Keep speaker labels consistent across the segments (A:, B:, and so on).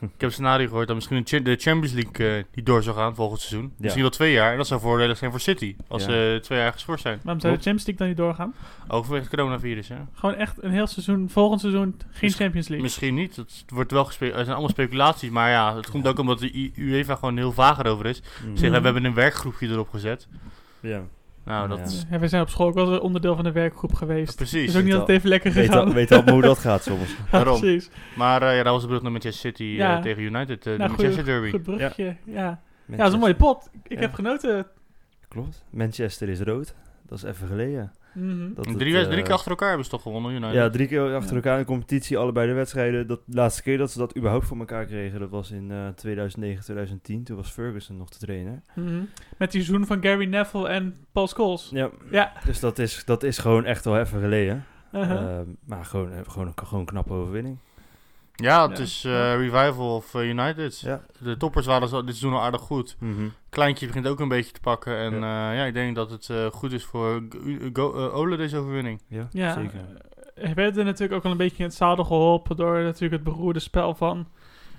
A: ik heb een scenario gehoord dat misschien de Cha- de Champions League eh, niet door zou gaan volgend seizoen. Misschien wel twee jaar. En dat zou voordelig zijn voor City, als
B: Ja.
A: ze twee jaar geschorst zijn.
C: Waarom
B: Oh.
C: zou de Champions League dan niet doorgaan?
A: Ook vanwege het coronavirus, hè?
C: Gewoon echt een heel seizoen, volgend seizoen, geen
A: Miss-
C: Champions League.
A: Misschien niet. Het wordt wel gespe- er zijn allemaal speculaties. Maar ja, het komt
B: Ja.
A: ook omdat de I- UEFA gewoon heel vaag erover is.
B: Mm.
A: Zeg, we
C: Mhm.
A: hebben een werkgroepje erop gezet.
B: Ja.
A: Nou, dat
B: Ja.
A: is
C: Ja, we zijn op school ook wel onderdeel van de werkgroep geweest. is
A: precies.
C: ook niet
B: Weet
C: altijd even lekker
B: Weet
C: gegaan.
B: al, weet al hoe dat gaat soms.
C: Ja,
A: waarom.
C: Precies.
A: Maar eh, ja, dat was de brug naar Manchester City eh,
C: Ja.
A: tegen United, eh,
C: Nou,
A: de
C: goeie-
A: Manchester Derby.
C: Goed brugje. Ja. Ja. dat is
B: Manchester-
C: een mooie pot. Ik
B: Ja.
C: heb genoten.
B: Klopt. Manchester is rood. Dat is even geleden.
C: Mhm.
B: Dat
A: drie,
B: het,
A: wed- drie
B: eh,
A: keer achter elkaar hebben ze toch gewonnen, United.
B: Ja, drie keer achter
C: Ja.
B: elkaar in de competitie, allebei de wedstrijden. Dat de laatste keer dat ze dat überhaupt voor elkaar kregen, dat was in eh, 2009, 2010. Toen was Ferguson nog de trainer.
C: Mhm. Met die zoen van Gary Neville en Paul Scholes.
B: Ja.
C: Ja.
B: Dus dat is, dat is gewoon echt wel even geleden.
C: Uh-huh.
B: Ehm, maar gewoon, eh, gewoon, gewoon een knappe overwinning.
A: Ja, het
C: Ja.
A: is eh, revival of eh, United.
B: Ja.
A: De toppers waren zo, dit seizoen al aardig goed.
C: Mhm.
A: Kleintje begint ook een beetje te pakken. En ja, ja ik denk dat het eh, goed is voor Gu- Go- eh, Ole deze overwinning.
B: Ja,
C: ja.
B: zeker.
C: We werden natuurlijk ook al een beetje in het zadel geholpen door natuurlijk het beroerde spel van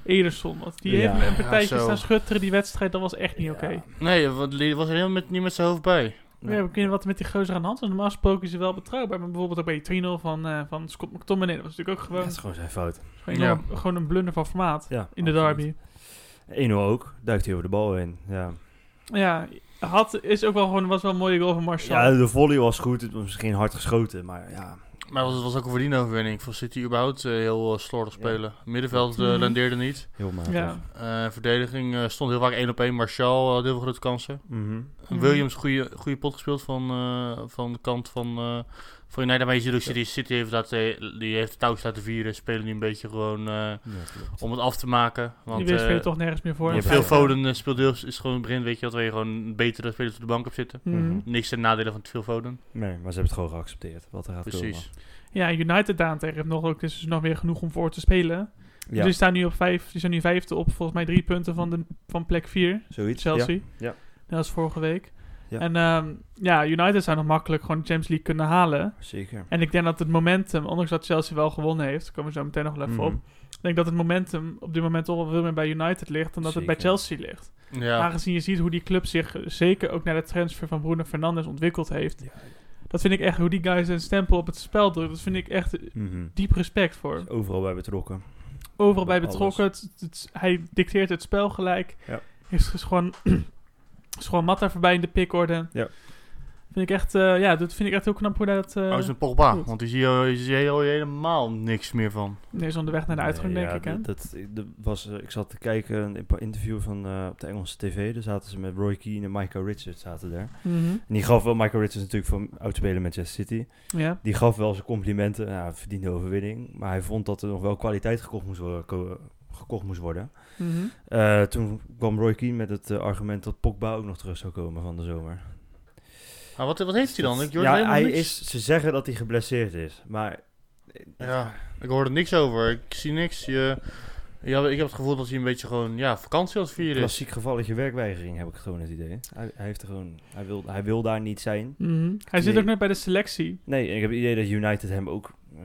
C: Ederson. Want die
B: Ja.
C: heeft een
A: Ja,
C: partijtje
A: zo.
C: staan schutteren, die wedstrijd, dat was echt Eh, niet
B: Ja.
C: oké.
A: Nee, want die was er helemaal met, niet met zijn hoofd bij.
C: Ja, we kunnen wat met die gozer aan de hand. is. Normaal gesproken is hij wel betrouwbaar. Maar bijvoorbeeld ook bij die 3-0 van, eh, van Scott McTominay. Dat was natuurlijk ook
B: Ja,
C: gewoon,
B: het is gewoon zijn fout.
C: gewoon, enorm- gewoon een blunder van formaat.
B: Ja,
C: In de
B: absoluut.
C: derby.
B: 1-0 ook, duikt hij over de bal heen. Ja.
C: Ja, had, is ook wel gewoon, was wel een mooie goal van Martial.
B: ja, de volley was goed. Het was misschien hard geschoten, maar ja.
A: Maar het was, was ook een verdiende overwinning. Voor City überhaupt eh, heel eh, slordig
B: Ja.
A: spelen. Middenveld eh,
C: Mhm.
A: rendeerde niet.
B: Heel matig.
C: Ja.
A: Eh, verdediging eh, stond heel vaak 1 op 1. Martial had heel veel grote kansen.
B: Mhm.
C: Mhm.
A: Williams, goede, goede pot gespeeld van, eh, van de kant van, eh van United. Maar je ziet ook City, City heeft, dat, eh, die heeft de touwtjes laten vieren. Spelen nu een beetje gewoon eh,
B: Ja, klopt.
A: om het af te maken.
C: die
A: Want
C: wist
A: eh,
C: je toch nergens meer voor.
B: je hebt
A: veel
B: Ja.
A: Foden eh, speelt deels, is gewoon het begin, weet je, dat we gewoon een betere spelers op de bank op zitten.
C: Mhm.
A: Niks ten nadele van veel Foden.
B: Nee, maar ze hebben het gewoon geaccepteerd. Wat er gaat
A: Precies.
C: Ja, United daarentegen heeft nog, ook, dus nog weer genoeg om voor te spelen.
B: komen.
C: Dus
B: Ja,
C: die staan nu op vijf, die zijn nu vijfde op volgens mij drie punten van, de, van plek vier.
B: zoiets. ja.
C: Chelsea.
B: ja.
C: Net als vorige week.
B: Ja.
C: En ehm, ja, United zou nog makkelijk gewoon de Champions League kunnen halen.
B: Zeker.
C: En ik denk dat het momentum, ondanks dat Chelsea wel gewonnen heeft, daar komen we zo meteen nog wel even
B: Mhm.
C: op. Ik denk dat het momentum op dit moment toch wel veel meer bij United ligt dan dat het bij
B: Zeker.
C: Chelsea ligt.
A: Ja.
C: Aangezien je ziet hoe die club zich eh, zeker ook naar de transfer van Bruno Fernandes ontwikkeld heeft.
B: Ja.
C: Dat vind ik echt, hoe die guys zijn stempel op het spel drukt, dat vind ik echt eh,
B: Mhm.
C: diep respect voor.
B: Overal bij betrokken.
C: overal bij
B: Bij
C: betrokken. Het- het- hij dicteert het spel gelijk.
B: Ja.
C: Is, is gewoon, is gewoon Matta voorbij in de pickorde.
B: Ja.
C: Vind ik echt, eh, ja, dat vind ik echt heel knap hoe hij dat... eh,
A: Oh, is een Pogba.
C: goed.
A: Want die zie je, je zie je al helemaal niks meer van.
C: nee, is onderweg naar de uitgang,
B: Nee,
C: denk ik.
B: ja,
C: Hè?
B: Dat, dat- ik- dat was, eh, ik zat te kijken, een imp- interview van, eh, op de Engelse tv. Daar zaten ze met Roy Keane en Michael Richards zaten daar.
C: Mhm.
B: En die gaf wel, Michael Richards natuurlijk van oudspeler Manchester City.
C: Ja.
B: Die gaf wel zijn complimenten, nou, hij verdiende overwinning. Maar hij vond dat er nog wel kwaliteit gekocht moest worden. ko- gekocht moest worden.
C: Mhm.
B: Eh, toen kwam Roy Keane met het eh, argument dat Pogba ook nog terug zou komen van de zomer.
A: Maar Ah, wat, wat heeft hij dan? Ik hoorde
B: ja,
A: helemaal
B: hij
A: niks.
B: is, ze zeggen dat hij geblesseerd is, maar...
A: Ja, ik hoorde niks over. Ik zie niks. Je, ja, ik heb het gevoel dat hij een beetje gewoon ja, vakantie als vier is.
B: Klassiek gevalletje werkweigering heb ik gewoon het idee. Hij, hij, heeft er gewoon, hij, wil, hij wil daar niet zijn.
C: Mhm. Hij zit
B: Nee.
C: ook net bij de selectie.
B: Nee, ik heb het idee dat United hem ook eh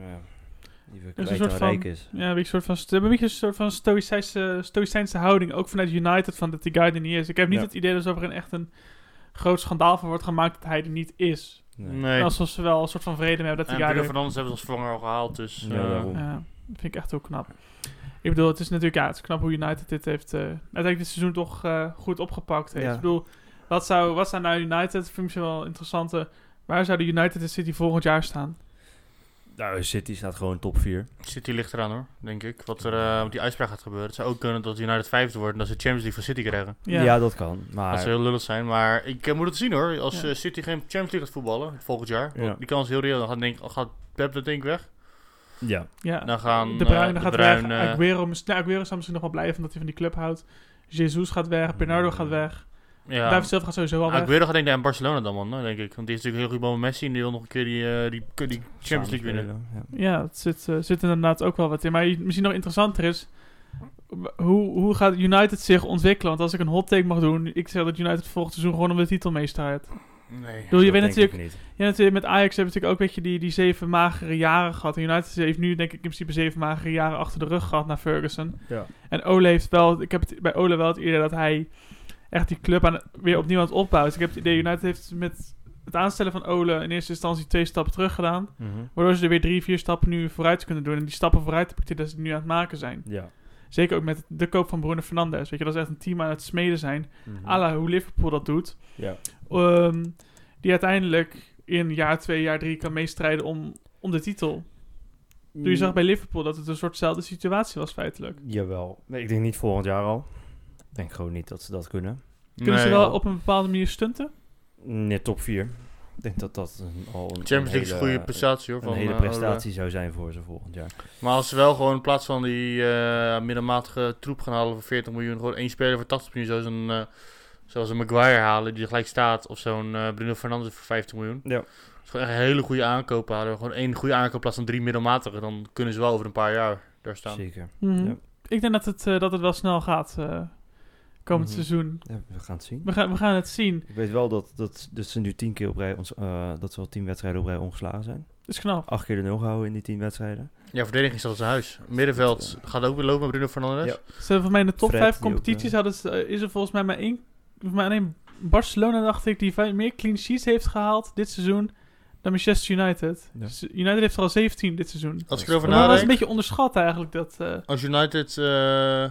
B: liever
C: een
B: kwijt
C: soort
B: dan
C: van-
B: rijk is.
C: Ja, een beetje soort van, ze hebben een beetje een soort van stoïcijnse, stoïcijnse houding. Ook vanuit United, van dat die guy er niet is. Ik heb niet
B: Ja.
C: het idee dat er een echt een groot schandaal van wordt gemaakt dat hij er niet is.
B: Nee.
A: Nee.
C: Alsof ze wel een soort van vrede mee hebben dat
A: En
C: die guy
A: Bruno
C: er
A: Fernandes hebben ze als vervanger al gehaald. Dus
B: Ja,
A: eh,
B: daarom.
C: Ja, dat vind ik echt heel knap. Ik bedoel, het is natuurlijk ja, het is knap hoe United dit heeft eh uiteindelijk dit seizoen toch eh, goed opgepakt heeft.
B: Ja.
C: Ik bedoel, wat zou, wat zou nou United, vind ik zo wel interessant. eh, waar zou de United en City volgend jaar staan?
B: Nou, City staat gewoon top 4.
A: City ligt eraan hoor, denk ik. Wat er eh, met die uitspraak gaat gebeuren. Het zou ook kunnen dat United vijfde wordt en dat ze Champions League van City krijgen.
B: Ja. dat kan.
A: Dat
B: Maar
A: zou heel lullig zijn, maar ik eh, moet het zien hoor. Als
C: Ja.
A: eh, City geen Champions League gaat voetballen volgend jaar,
B: Ja.
A: die kans is heel reëel. Dan gaat, denk, gaat Pep dat denk ik weg.
B: ja,
C: ja.
A: Dan gaan
C: de
A: eh,
C: Bruyne
A: de
C: gaat
A: Bruyne,
C: weg.
A: eh,
C: Aguero, mis- nou, Aguero zou misschien nog wel blijven omdat hij van die club houdt. Jesus gaat weg. Bernardo gaat weg.
A: Mm. eh, ja.
C: David Silva gaat sowieso al weg.
A: Aguero gaat denk ik naar Barcelona dan man, hè, denk ik. Want die is natuurlijk heel goed bij Messi en die wil nog een keer die, eh, die, die, Champions League winnen.
B: Samenspelen, ja.
C: Ja, het zit, eh, zit inderdaad ook wel wat in. Maar je- misschien nog interessanter is... Hoe, hoe gaat United zich ontwikkelen? Want als ik een hot take mag doen... Ik zeg dat United volgend seizoen gewoon om de titel meestraait. Ik
A: Nee.
C: bedoel, je
B: Dat
C: weet
B: denk ik
C: natuurlijk...
B: niet.
C: Ja, natuurlijk, met Ajax hebben we natuurlijk ook een beetje die, die zeven magere jaren gehad. En United heeft nu denk ik in principe zeven magere jaren achter de rug gehad na Ferguson.
B: Ja.
C: En Ole heeft wel... Ik heb het, bij Ole wel het idee dat hij echt die club aan, weer opnieuw aan het opbouwen is. Ik heb het idee, United heeft met het aanstellen van Ole in eerste instantie twee stappen terug gedaan.
B: Mhm.
C: Waardoor ze er weer drie, vier stappen nu vooruit kunnen doen. En die stappen vooruit heb ik het idee dat ze nu aan het maken zijn.
B: Ja.
C: Zeker ook met de koop van Bruno Fernandes. Weet je, dat is echt een team aan het smeden zijn.
B: Mhm.
C: à la hoe Liverpool dat doet.
B: Ja.
C: Ehm, die uiteindelijk in jaar twee, jaar drie kan meestrijden om, om de titel. Toen je zag bij Liverpool dat het een soortzelfde situatie was feitelijk.
B: Jawel. Nee, ik denk niet volgend jaar al. Ik denk gewoon niet dat ze dat kunnen.
C: Kunnen
A: Nee,
C: ze wel
A: joh.
C: op een bepaalde manier stunten?
B: Net top 4. Ik denk dat dat een, al een,
A: Champions
B: een
A: League is een
B: hele-
A: goede prestatie hoor.
B: Een
A: van,
B: hele
A: eh,
B: prestatie zou zijn voor ze volgend jaar.
A: Oranje. Maar als ze wel gewoon in plaats van die eh middelmatige troep gaan halen voor 40 miljoen, gewoon één speler voor 80 miljoen, zoals een, eh, zoals een Maguire halen die er gelijk staat, of zo'n eh, Bruno Fernandes voor 50 miljoen.
B: Ja.
A: Dus gewoon echt een hele goede aankoop halen. Gewoon één goede aankoop in plaats van drie middelmatige. Dan kunnen ze wel over een paar jaar daar staan.
B: Zeker. Ja.
C: Ik denk dat het, eh, dat het wel snel gaat eh, komend
B: Mhm.
C: seizoen.
B: Ja, we gaan het zien.
C: We gaan, we gaan het zien.
B: Ik weet wel dat, dat, dat ze nu tien keer op rij, ons, eh, dat ze al tien wedstrijden op rij ongeslagen zijn.
C: Dat is knap.
B: Acht keer de nul gehouden in die tien wedstrijden.
A: Ja, verdediging staat als een huis. Middenveld gaat ook weer lopen met Bruno Fernandes.
B: eh, Ja.
C: Ze hebben voor mij in de top
B: Fred,
C: 5
B: die ook,
C: competities hadden ze, eh, is er volgens mij maar één. Volgens mij alleen Barcelona, dacht ik, die vij- meer clean sheets heeft gehaald dit seizoen dan Manchester United.
B: Ja.
C: Dus United heeft er al 17 dit seizoen.
A: Als ik erover
C: Maar dat was een
A: nadenk,
C: beetje onderschat eigenlijk. Dat, eh,
A: als United, eh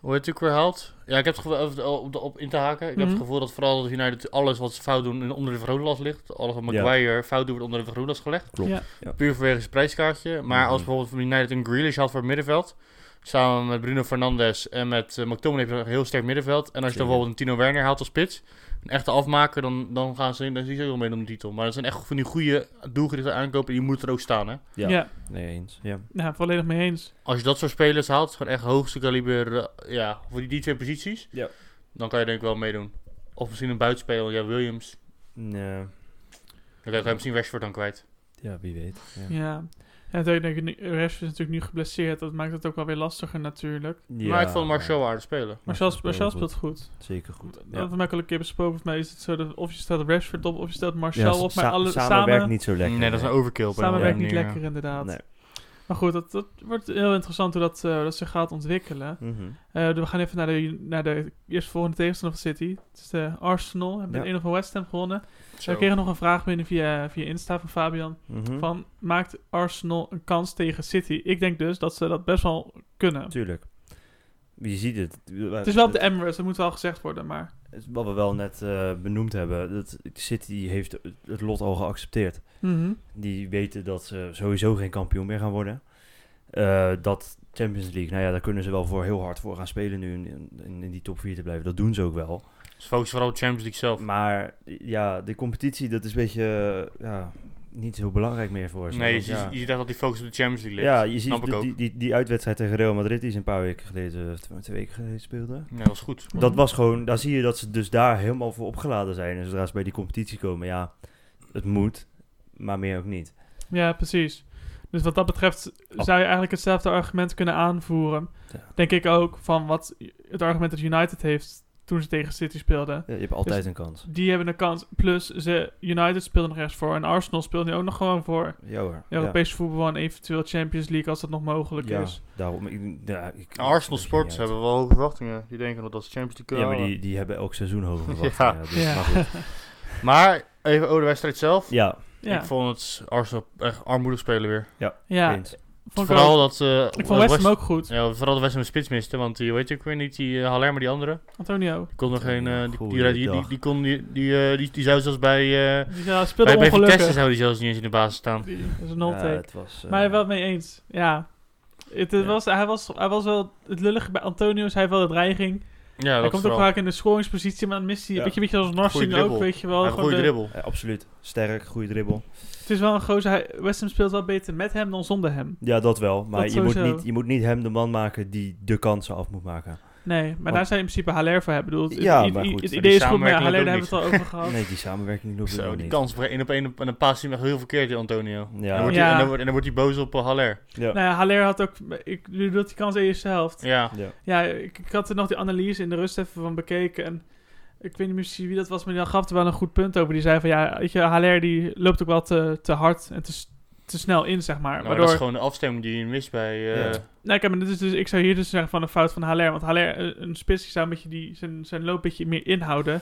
A: hoe heet het ook weer haalt? Ja, ik heb het gevoel, op, de- op, de- op in te haken, ik heb
C: Mhm.
A: het gevoel dat vooral dat United alles wat ze fout doen in- onder de vergrootglas ligt. Alles wat
B: Ja.
A: Maguire fout doet wordt onder de vergrootglas gelegd.
B: Klopt.
C: Ja.
A: Puur vanwege zijn prijskaartje. Maar als
B: Mhm.
A: bijvoorbeeld United een Grealish had voor het middenveld, samen met Bruno Fernandes en met eh, McTominay heb je een heel sterk middenveld. En als je dan
B: Zeker.
A: bijvoorbeeld een Tino Werner haalt als spits, een echte afmaker, dan, dan gaan ze, dan zie je ze ook wel mee om de titel. Maar dat zijn echt van die goede doelgerichte aankopen, die moeten er ook staan hè.
C: ja.
B: Ja. Nee, eens. Ja.
C: nou, volledig mee eens.
A: Als je dat soort spelers haalt, gewoon echt hoogste kaliber, eh, ja, voor die, die twee posities,
B: Ja.
A: dan kan je denk ik wel meedoen. Of misschien een buitenspeler, want ja, Williams,
B: Nee.
A: dan kan je misschien Rashford dan kwijt.
B: Ja, wie weet. Ja.
C: Ja. En natuurlijk denk ik, nu- Rashford is natuurlijk nu geblesseerd. Dat maakt het ook wel weer lastiger natuurlijk.
A: Maar ik vond Martial aardig spelen.
C: Maar zelfs
B: speelt
C: Martial
B: goed.
C: speelt goed.
B: Zeker goed.
C: Dat
B: Ja.
C: hebben we ook al een keer besproken. Volgens mij is het zo dat of je stelt Rashford op of je stelt Martial
B: Ja,
C: op.
B: sa-
C: Maar alle,
B: samen,
C: samen,
B: werkt niet zo lekker.
A: nee, dat is een overkill. op een
C: samen
A: andere
C: werkt niet
A: manier,
C: lekker inderdaad.
B: Nee.
C: Maar goed, dat, dat wordt heel interessant hoe dat, eh, dat zich gaat ontwikkelen.
B: Mhm.
C: Eh, we gaan even naar de, naar de eerstvolgende tegenstander van City. Het is de Arsenal. Hebben
B: Ja.
C: met 1-0 van West Ham gewonnen.
A: ja.
C: We kregen nog een vraag binnen via, via Insta van Fabian.
B: Mhm.
C: Van, maakt Arsenal een kans tegen City? Ik denk dus dat ze dat best wel kunnen.
B: Tuurlijk. Je ziet het.
C: Het is wel op de Emirates, dat moet wel gezegd worden, maar...
B: Wat we wel net eh, benoemd hebben. Dat City heeft het lot al geaccepteerd.
C: Mhm.
B: Die weten dat ze sowieso geen kampioen meer gaan worden. Eh, dat Champions League, nou ja, daar kunnen ze wel voor heel hard voor gaan spelen nu in, in, in die top 4 te blijven. Dat doen ze ook wel.
A: Dus focus vooral op Champions League zelf.
B: Maar ja, de competitie, dat is een beetje eh, ja, niet zo belangrijk meer voor ze.
A: Nee, je,
B: Want,
A: ziet-
B: ja.
A: je ziet echt dat die focus op de Champions League ligt.
B: Ja, je ziet
A: Snap ik
B: die,
A: ook.
B: die, die, die uitwedstrijd tegen Real Madrid die ze een paar weken geleden, twee, twee weken geleden speelden.
A: Nee, dat was goed.
B: Dat was gewoon, daar zie je dat ze dus daar helemaal voor opgeladen zijn. En zodra ze bij die competitie komen, ja, het moet, maar meer ook niet.
C: Ja, precies. Dus wat dat betreft zou je eigenlijk hetzelfde argument kunnen aanvoeren.
B: Oh. Ja.
C: Denk ik ook van wat het argument dat United heeft toen ze tegen City speelden.
B: Ja, je hebt altijd een kans.
C: Die hebben een kans. Plus ze, United speelt nog ergens voor. En Arsenal speelt nu ook nog gewoon voor
B: Ja hoor. ja.
C: Europees voetbal en eventueel Champions League als dat nog mogelijk
B: Ja,
C: is.
B: daarom. Ik, ja, ik-
A: Nou, Arsenal
B: ik-
A: Sports
B: ja.
A: hebben wel hoge verwachtingen. Die denken dat ze Champions League eh, kunnen
B: Ja, maar
A: halen.
B: die, die hebben elk seizoen hoger verwacht.
A: Ja.
B: ja. dus,
C: Ja.
B: maar goed.
A: Maar even over de wedstrijd zelf.
B: ja,
C: Ja,
A: Ik vond het Arsenal echt armoedig spelen weer.
C: ja.
B: eens.
C: Vond ik,
A: vooral
C: ook-
A: dat... eh,
C: ik vond West
A: West-
C: Ham ook goed.
A: Ja, vooral de West Ham de spits miste. Want die, weet ik weer niet, die uh, maar die andere.
C: Antonio.
A: Die kon nog geen... eh, die, die, die, die,
B: Goeiedag.
A: die kon... Die, die, eh, die, die zou zelfs bij... eh,
C: Die ja, speelde
A: bij, bij Vitesse
C: ongelukkig.
A: zou die zelfs niet eens in de basis staan.
C: Die- Dat is een
B: Ja,
C: hot take.
B: het was, eh,
C: Maar hij wel mee eens. Ja. Het, het
B: Ja.
C: Was, hij, was, hij was wel het lullige bij Antonio, is hij wel de dreiging.
A: Ja,
C: hij
A: dat
C: komt ook
A: vooral.
C: vaak in de scoringspositie, maar dan mist hij
B: Ja.
C: een beetje, beetje als Narsing
A: dribbel.
C: ook, weet je wel.
A: Hij heeft een
C: Gewoon
A: goede
C: de-
A: dribbel.
B: eh, absoluut. Sterk, goede dribbel.
C: het is wel een gozer, hij, West Ham speelt wel beter met hem dan zonder hem.
B: Ja, dat wel. Maar
C: Dat
B: je, moet
C: sowieso.
B: niet, je moet niet hem de man maken die de kansen af moet maken.
C: Nee, maar daar zou je in principe Haller voor hebben. Ik Bedoel, het,
B: Ja,
C: het-
B: maar
C: het-
B: goed.
C: het
A: Maar
C: idee
A: die
C: is goed, maar ja, Haller, daar
A: samenwerking
C: hebben we het al over gehad.
B: Nee, die samenwerking loopt
A: Zo,
B: helemaal
A: die
B: niet.
A: kans op één op één op en dan paast hij hem echt heel verkeerd, die Antonio. En,
B: Ja.
A: dan wordt
C: Ja.
A: hij, en, dan wordt, en dan wordt hij boos op eh, Haller.
B: Ja.
C: Nou ja, Haller had ook, ik bedoel dat die kans in de eerste helft.
A: Ja.
B: Ja.
C: Ja, ik, ik had er nog die analyse in de rust even van bekeken. En ik weet niet meer precies wie dat was, maar die dan gaf er wel een goed punt over. Die zei van ja, weet je, Haller die loopt ook wel te, te hard en te, s- te snel in, zeg maar.
A: Nou, maar
C: Waardoor,
A: dat is gewoon de afstemming die je mist bij... eh,
B: Ja.
C: nee, kijk, maar dit is dus, ik zou hier dus zeggen van een fout van Haller. Want Haller, eh, een spits, die zou een beetje die, zijn, zijn loop een beetje meer inhouden.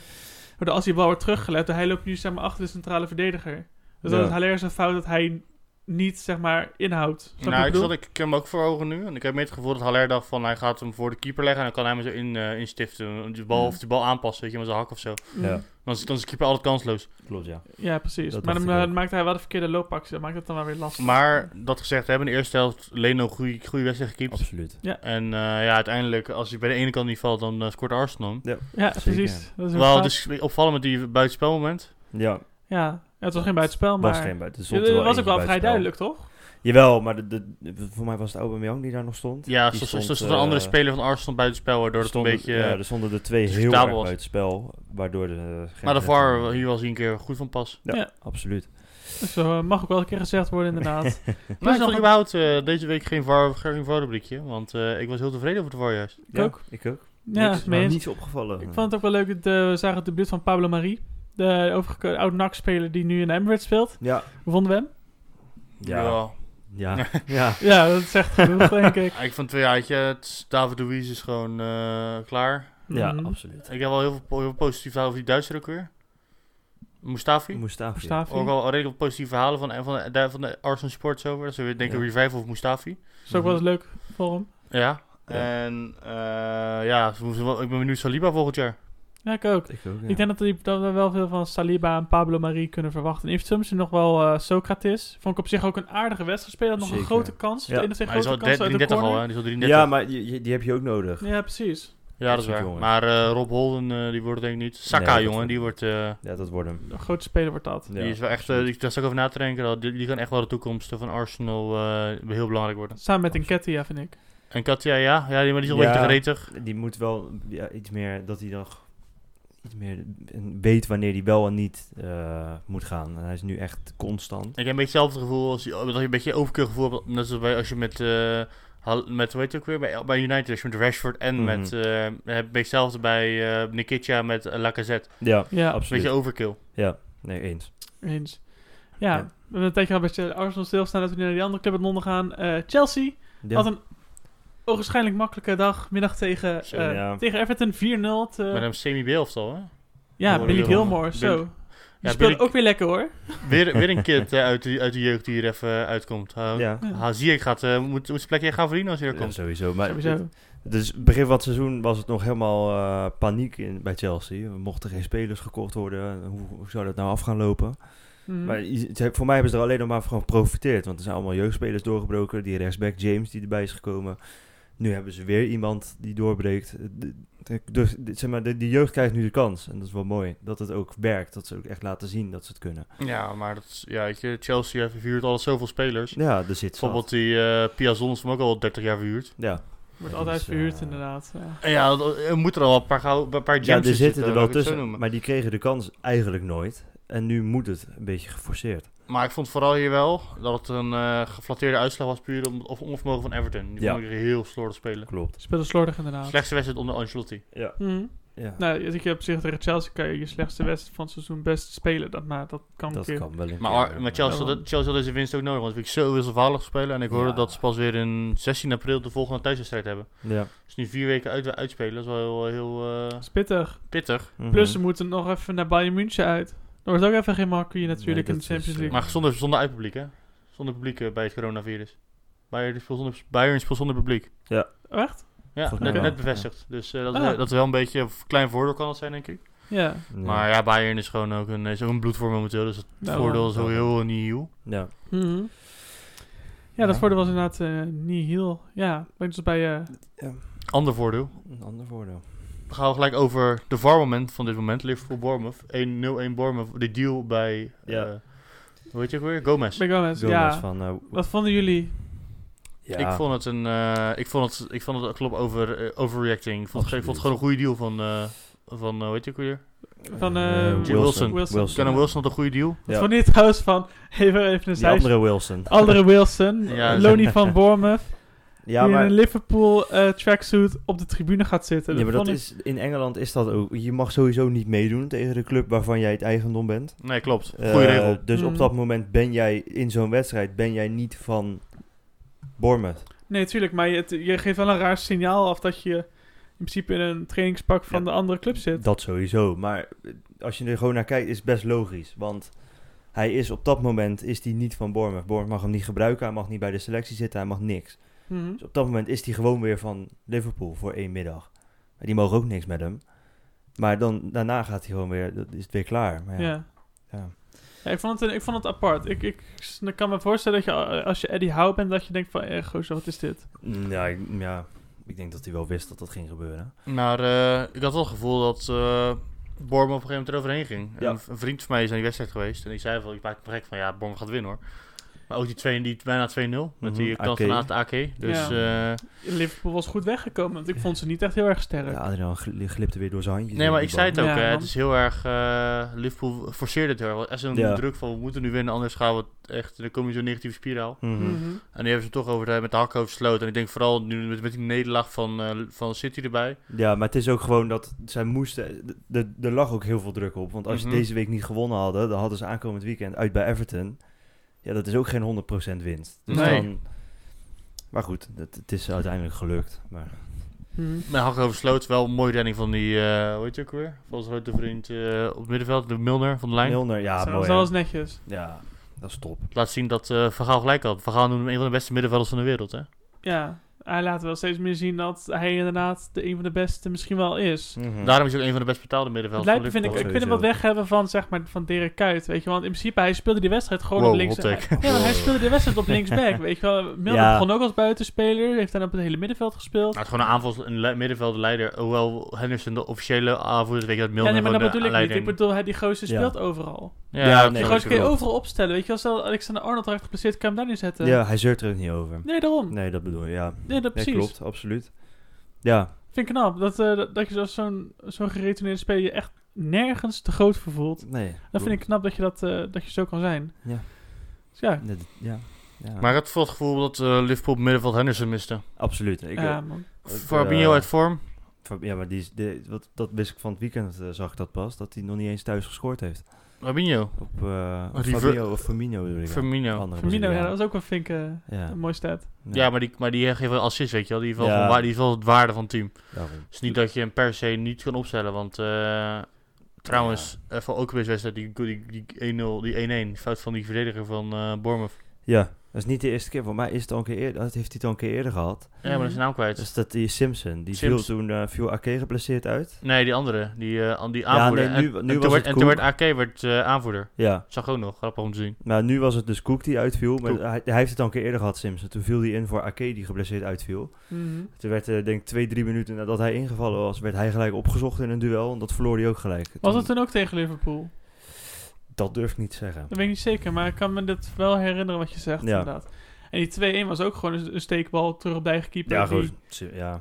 C: Waardoor als die bal wordt teruggelet, hij loopt nu zeg maar achter de centrale verdediger. Dus dat
B: Ja.
C: is Haller zijn fout dat hij niet, zeg maar, inhoudt. Snap je wat
A: Nou, ik,
C: bedoel?
A: zat, ik, ik heb hem ook voor ogen nu. En ik heb meer het gevoel dat Haller dacht van hij gaat hem voor de keeper leggen. En dan kan hij hem zo in, eh, instiften. De bal,
C: Ja.
A: Of de bal aanpassen, weet je, met zijn hak of zo.
C: Mm.
B: Ja.
A: Dan is, dan is de keeper altijd kansloos.
B: Klopt, ja.
C: Ja, precies.
B: Dat
C: maar dan
B: dacht ik
C: eh,
B: ook.
C: maakt hij wel de verkeerde loopactie. Dat maakt het dan wel weer lastig.
A: Maar dat gezegd hebben, in de eerste helft Leno goede goede wedstrijd gekiept.
B: Absoluut.
A: En eh, ja, uiteindelijk, als hij bij de ene kant niet valt, dan eh, scoort Arsenal. hem.
C: Ja,
B: Zeker.
C: precies. Dat is een
A: Wel,
C: fout.
A: dus opvallend met die buitenspelmoment.
B: Ja,
C: Ja. ja, het was geen buitenspel, Oh, maar...
B: was geen buiten. er
C: Ja,
B: stond
C: dat
B: er
C: was
B: eentje
C: ook wel vrij
B: buitenspel.
C: duidelijk, toch?
B: Jawel, maar de, de, voor mij was het Aubameyang die daar nog stond.
A: Ja,
B: Die
A: er stond,
B: stond,
A: stond een andere
B: eh,
A: speler van Arsenal buitenspel, waardoor het een
B: Stonden-
A: beetje...
B: ja, er stonden de twee heel
A: discutabel
B: erg
A: was.
B: uit het spel, waardoor de... eh,
A: Dus maar de
B: grensrechter-
A: VAR hier was hij een keer goed van pas.
B: Ja,
C: Ja.
B: absoluut.
C: Dus eh, mag ook wel een keer gezegd worden, inderdaad.
A: Maar ik vond
C: nog-
A: überhaupt eh, deze week geen VAR, geen VAR-rubriekje, want eh, ik was heel tevreden over de VAR juist.
C: Ik
B: Ja,
C: ook.
B: Ik ook.
C: Ja,
B: niks,
C: mee eens.
B: niets opgevallen.
C: Ik vond het ook wel leuk. dat, eh, we zagen het debuut van Pablo Marie. De overige oud NAC-speler die nu in de Emirates speelt.
B: Ja.
C: Hoe vonden we hem?
B: Ja. Ja. Ja.
C: Ja, dat is echt genoeg, denk ik.
A: Ja, Ik vond het weer uit, ja, het is- David Luiz is gewoon eh, klaar.
B: Ja,
C: Mhm.
B: absoluut.
A: Ik heb wel heel veel, po- heel veel positief verhalen over die Duitser ook weer. Mustafi.
B: Mustafi.
C: Mustafi.
A: Ook al redelijk positieve verhalen van, van, de, van de Arsenal Sports over. Dus Dat ze weer denken
B: Ja.
A: revival of Mustafi.
C: Is ook wel
A: Mhm.
C: eens leuk voor hem.
A: Ja.
B: Ja.
A: En eh, ja, ze moeten wel- ik ben benieuwd Saliba volgend jaar.
C: Ja, ik ook.
B: Ik ook, ja.
C: Ik denk dat, die- dat we wel veel van Saliba en Pablo Marie kunnen verwachten. En eventueel misschien nog wel eh, Socrates. Vond ik op zich ook een aardige wedstrijd spelen. Nog een
B: Zeker.
C: grote kans.
B: Ja.
C: De enige
A: Maar hij is
C: grote
A: al
C: kans uit de
A: 33 al, hè?
C: corner.
A: Hij is al
B: Ja,
A: 33.
B: maar je- je- die heb je ook nodig.
C: Ja, precies.
A: Ja, dat is waar.
B: Jongen.
A: Maar eh, Rob Holden, eh, die wordt het denk ik niet. Saka,
B: Nee, dat
A: jongen, die wordt... eh,
B: Ja, dat wordt hem.
C: Een grote speler wordt dat.
B: Ja,
A: die is wel echt... eh,
B: absoluut.
A: ik daar zat ik over na te denken. dat Die, die kan echt wel de toekomst van Arsenal eh, heel belangrijk worden.
C: Samen met Enketia, vind ik.
A: En Katja, ja, ja die, maar die is al een
B: Ja.
A: beetje gretig.
B: die moet wel ja, iets meer dat hij nog iets meer weet wanneer hij wel en niet eh, moet gaan. En hij is nu echt constant.
A: Ik heb een beetje hetzelfde gevoel als dat je een beetje overkeurgevoel hebt. Net zoals bij, als je met, eh, Hal- met hoe heet het ook weer, bij, bij United, als je met Rashford en
B: Mhm.
A: met, eh, heb je een beetje hetzelfde bij eh Nikitja met eh, Lacazette.
B: Ja,
C: Ja,
A: Een beetje
B: absoluut.
A: overkill.
B: Ja, nee, eens.
C: eens. Ja,
B: Ja.
C: we hebben een tijdje al bij Arsenal stilstaan dat we nu naar die andere club in Londen gaan. Eh, Chelsea
B: Ja.
C: had een ogenschijnlijk makkelijke dag. Middag tegen,
A: Zo,
C: eh,
B: ja.
C: tegen Everton 4-0. te-
A: Met een semi-beelftal, hè?
C: ja,
A: Oh,
C: Billy
A: Gilmore.
C: Gilmore, zo. Die
A: Ja,
C: speelde
A: Billy-
C: ook weer lekker hoor.
A: Weer, weer een kid eh, uit, de, uit de jeugd die hier even eh, uitkomt. Ha,
B: Ja,
A: ha, zie ik, gaat, eh, moet, moet zijn plekje gaan verdienen als hij er
B: ja
A: komt.
B: sowieso. Ah, Maar
C: Sowieso.
B: Dus begin van het seizoen was het nog helemaal eh, paniek in, bij Chelsea. Er mochten geen spelers gekocht worden. Hoe, hoe zou dat nou af gaan lopen?
C: Mhm.
B: Maar je- ze- voor mij hebben ze er alleen nog maar van geprofiteerd. Want er zijn allemaal jeugdspelers doorgebroken. Die rechtsback James die erbij is gekomen. Nu hebben ze weer iemand die doorbreekt. De- de- Dus de- zeg maar, de, die jeugd krijgt nu de kans. En dat is wel mooi. Dat het ook werkt. Dat ze ook echt laten zien dat ze het kunnen.
A: Ja, maar dat, is- ja, weet je, Chelsea heeft verhuurd al zoveel spelers.
B: Ja, er zit zat.
A: Bijvoorbeeld die eh Piazon is hem ook al 30 jaar verhuurd.
B: Ja,
C: Wordt
B: Ja,
C: altijd
B: dus, eh,
C: verhuurd inderdaad. Ja.
A: En ja, dat- er moeten er al een paar, gauw, een paar gems
B: ja er
A: in
B: zitten er wel
A: laat ik het zo noemen.
B: tussen. Maar die kregen de kans eigenlijk nooit. En nu moet het een beetje geforceerd.
A: Maar ik vond vooral hier wel dat het een eh, geflatteerde uitslag was puur om of onvermogen van Everton. Die
B: Ja.
A: vond ik heel slordig spelen.
B: Klopt.
C: Speelde slordig inderdaad.
A: Slechtste wedstrijd onder Ancelotti.
B: Ja.
C: Mhm.
B: ja.
C: Nou, ik heb op zich tegen Chelsea kan je je slechtste wedstrijd van het seizoen best spelen. Dat, maar dat kan een
B: Dat
C: keer.
B: kan wel een
A: Maar
B: keer, eh,
A: Ar- maar Chelsea,
C: Ja,
A: had,
C: want-
A: Chelsea had deze winst ook nodig, want ik zo wisselvallig spelen. En ik hoorde
B: Ja.
A: dat ze pas weer in 16 april de volgende thuiswedstrijd hebben.
B: Ja.
A: Dus nu vier weken uit, uitspelen, dat is wel heel, heel eh,
C: Dat is pittig.
A: pittig.
B: Mhm.
C: Plus ze moeten nog even naar Bayern München uit. Dan wordt ook even geen makkie natuurlijk
B: Nee,
C: in de
B: dat is,
C: Champions
B: eh,
C: League.
A: Maar zonder, zonder uitpubliek, hè? Zonder publiek eh, bij het coronavirus. Bayern speelt zonder, Bayern speelt zonder publiek.
C: Oh, Echt?
A: Ja,
B: Volgens mij
A: net,
B: wel.
A: net bevestigd. Dus eh, dat,
C: Ah.
A: is, dat is wel een beetje een klein voordeel kan dat zijn, denk ik.
C: Ja.
B: Ja.
A: Maar ja, Bayern is gewoon ook een, is ook een bloedvorm momenteel. Dus het
C: Nou,
A: voordeel is
B: wel.
A: ook heel eh, niet nieuw.
B: Ja.
C: Mhm. Ja, dat
B: Ja.
C: voordeel was inderdaad eh, niet heel... Ja, denk dus bij... eh
A: Ander voordeel.
B: Een ander voordeel.
A: Dan gaan we gelijk over de VAR-moment van dit moment. Liverpool-Bournemouth. 1-0-1 Bournemouth. De deal bij...
B: Ja.
A: eh, hoe heet je ook weer? Gomez.
C: bij Gomez.
B: Gomez
C: ja.
B: van... eh,
C: Wat vonden jullie?
B: ja.
A: Ik vond het een... eh, ik vond het... Ik vond het klopt over eh, overreacting. Ik vond, het- ik vond het gewoon een goede deal van... eh, van eh, hoe heet je ook weer?
C: Van eh,
B: Eh,
A: Wilson. Wilson.
C: Wilson.
A: Kenan Wilson had een goede deal.
C: Wat
B: Ja.
C: vond je het trouwens van... Even, even een
B: Die
C: zijs. Andere,
B: andere Wilson.
C: Wilson.
A: Ja,
C: Lonnie van Bournemouth.
B: Ja,
C: die in
B: maar,
C: een Liverpool eh, tracksuit op de tribune gaat zitten.
B: ja, maar dat
C: vond ik-
B: is, in Engeland is dat ook. Je mag sowieso niet meedoen tegen de club waarvan jij het eigendom bent.
A: Nee, klopt. Goede
B: Eh,
A: regel.
B: Dus
C: Mm.
B: op dat moment ben jij in zo'n wedstrijd ben jij niet van Bournemouth.
C: Nee, tuurlijk. Maar je, het- je geeft wel een raar signaal af dat je... In principe in een trainingspak van
B: Ja.
C: de andere club zit.
B: Dat sowieso. Maar eh, als je er gewoon naar kijkt, is het best logisch. Want hij is op dat moment is hij niet van Bournemouth. Bournemouth mag hem niet gebruiken. Hij mag niet bij de selectie zitten. Hij mag niks.
C: Mhm.
B: Dus op dat moment is hij gewoon weer van Liverpool voor één middag. Maar die mogen ook niks met hem. Maar dan, daarna gaat hij gewoon weer, dat is het weer klaar. Maar ja,
C: Ja.
B: ja.
C: Ja, ik, vond het, ik vond het apart. Ik, ik, s- ik kan me voorstellen dat je eh, als je Eddie Howe bent, dat je denkt van, eh, gozer, wat is dit?
B: Mm, Ja, ik- ja, ik denk dat hij wel wist dat dat ging gebeuren.
A: Maar eh, ik had wel het gevoel dat eh Bournemouth op een gegeven moment eroverheen ging.
B: Ja.
A: Een, v- een vriend van mij is naar die wedstrijd geweest. En ik zei van, ik maak me gek van, ja, Bournemouth gaat winnen hoor. Maar ook die, twee, die bijna 2-0. Met die
B: Mhm,
A: kans
B: AK.
A: van Aad AK. Dus eh,
C: Liverpool was goed weggekomen, want ik vond ze niet echt heel erg sterk.
B: Ja, Adriaan gl- glipte weer door zijn handjes.
A: nee,
B: in
A: maar
B: die
A: ik zei het
C: bal.
A: ook.
C: Ja,
A: hè, het
C: man.
A: is heel erg, eh, Liverpool forceert het heel erg. Er is een
B: Ja.
A: druk van, we moeten nu winnen, anders gaan we het echt, dan kom je in zo'n negatieve spiraal.
B: bal. Mhm.
C: Mhm.
A: En die hebben ze toch over de, met de hak over sloot. En ik denk vooral nu met, met die nederlaag van, eh, van City erbij.
B: Ja, maar het is ook gewoon dat zij moesten... d- d- Er lag ook heel veel druk op. Want als
A: Mhm.
B: ze deze week niet gewonnen hadden... dan hadden ze aankomend weekend uit bij Everton. Ja, dat is ook geen 100% winst. Dus
A: Nee.
B: dan... Maar goed, het, het is uiteindelijk gelukt. Maar
C: Mhm.
A: Met hak over sloot, wel een mooie redding van die, eh hoe heet je ook weer? Van onze grote vriend eh, op het middenveld, de Milner van de lijn.
B: Milner, ja,
C: Zo-
B: mooi.
C: Zo
B: hè?
C: was netjes.
B: Ja, dat is top.
A: laat zien dat eh Van Gaal gelijk had. Van Gaal noemde hem een van de beste middenvelders van de wereld, hè?
C: Ja, hij laat wel steeds meer zien dat hij inderdaad de een van de beste misschien wel is.
A: Daarom is hij ook een van de best betaalde
C: Het
A: middenvelders
C: lijkt me, vind ik,
A: Liverpool.
C: ik vind hem wat weg hebben van, zeg maar, van Dirk Kuyt, weet je wel. Want in principe, hij speelde die wedstrijd gewoon op
A: Wow,
C: links.
A: hot take.
C: Ja, maar hij speelde de wedstrijd op linksback, weet je wel. Milner
B: Ja.
C: begon ook als buitenspeler, heeft dan op het hele middenveld gespeeld.
A: Nou, het is gewoon een aanval, een le- middenveldleider. Hoewel Henderson de officiële aanvoerder is, weet je dat
C: ja,
A: Milner
C: nee, maar dat
A: gewoon
C: bedoel
A: de
C: ik niet. Ik
A: aanleiding-
C: bedoel, hij, die gozer
B: Ja.
C: speelt overal.
A: Ja,
B: Ja,
A: dat
C: Die
B: nee,
A: is
C: gozer kun je
A: ook zo.
C: overal opstellen. Weet je, wel, stel Alexander Arnold raakt geblesseerd, kan je hem daar niet zetten.
B: Ja, hij zeurt er ook niet over.
C: Nee, daarom. Nee,
B: Nee, dat bedoel je, ja.
C: dat
B: Nee,
C: precies.
B: klopt, absoluut. Ja,
C: Vind ik knap. Dat, eh, dat, dat je als zo'n zo'n geretoneerde speler je echt nergens te groot voor voelt.
B: nee.
C: Dat vind ik knap dat je, dat, eh, dat je zo kan zijn.
B: Ja.
C: Dus ja,
B: Nee, dat- Ja, ja.
A: Maar ik had vooral het gevoel dat eh, Liverpool op het middenveld Henderson miste.
B: absoluut. Ik,
C: ja, man.
B: eh,
A: Fabinho uit vorm.
B: Van- Ja, maar die, is- de- wat, dat wist ik van het weekend, eh, zag ik dat pas, dat hij nog niet eens thuis gescoord heeft.
A: Fabinho.
B: Op eh op
A: River-
B: Fabinho of Firmino bedoel ik. ja.
A: Firmino.
B: Andere
C: Firmino, ja,
B: Braziliaan.
C: dat was ook wel vind ik, eh,
B: Ja,
C: een mooi stat.
A: Ja, maar die, maar die geeft wel assist, weet je wel. Die heeft wel,
B: Ja.
A: van waar- die heeft wel het waarde van het team.
B: daarom.
A: Het is niet dat je hem per se niet kan opstellen, want eh, Trouwens, even ook weer eens wedstrijd, die, die, die 1-0, die 1-1, fout van die verdediger van eh Bournemouth.
B: Ja, dat is niet de eerste keer. Voor mij is het al een keer eerder, dat heeft hij het al een keer eerder gehad.
A: Ja, maar dat
C: Mhm.
A: is zijn naam kwijt.
B: Dus dat die Simpson, die viel
A: Sims.
B: toen eh, viel Ake geblesseerd uit.
A: Nee, die andere, die, eh, aan die aanvoerder.
B: nee, nu-
A: En-
B: nu
A: en,
B: was
A: toen werd,
B: het
A: en toen
B: Cook.
A: werd AK werd, eh, aanvoerder.
B: Ja,
A: Zag ook nog, grappig om te zien.
B: maar nu was het dus Cook die uitviel. Maar
A: Cook.
B: hij, hij heeft het al een keer eerder gehad, Simpson. Toen viel hij in voor Ake die geblesseerd uitviel.
A: nou-
C: Mhm.
B: Toen werd, eh, denk ik, twee, drie minuten nadat hij ingevallen was, werd hij gelijk opgezocht in een duel. En dat verloor hij ook gelijk.
C: Was
B: Toen-
C: dat toen ook tegen Liverpool?
B: Dat durf ik niet te zeggen.
C: Dat weet ik niet zeker, maar ik kan me dat wel herinneren wat je zegt,
B: Ja.
C: inderdaad. En die 2-1 was ook gewoon een een steekbal terug op de eigen keeper.
B: Ja,
C: die
B: gewoon. Ja.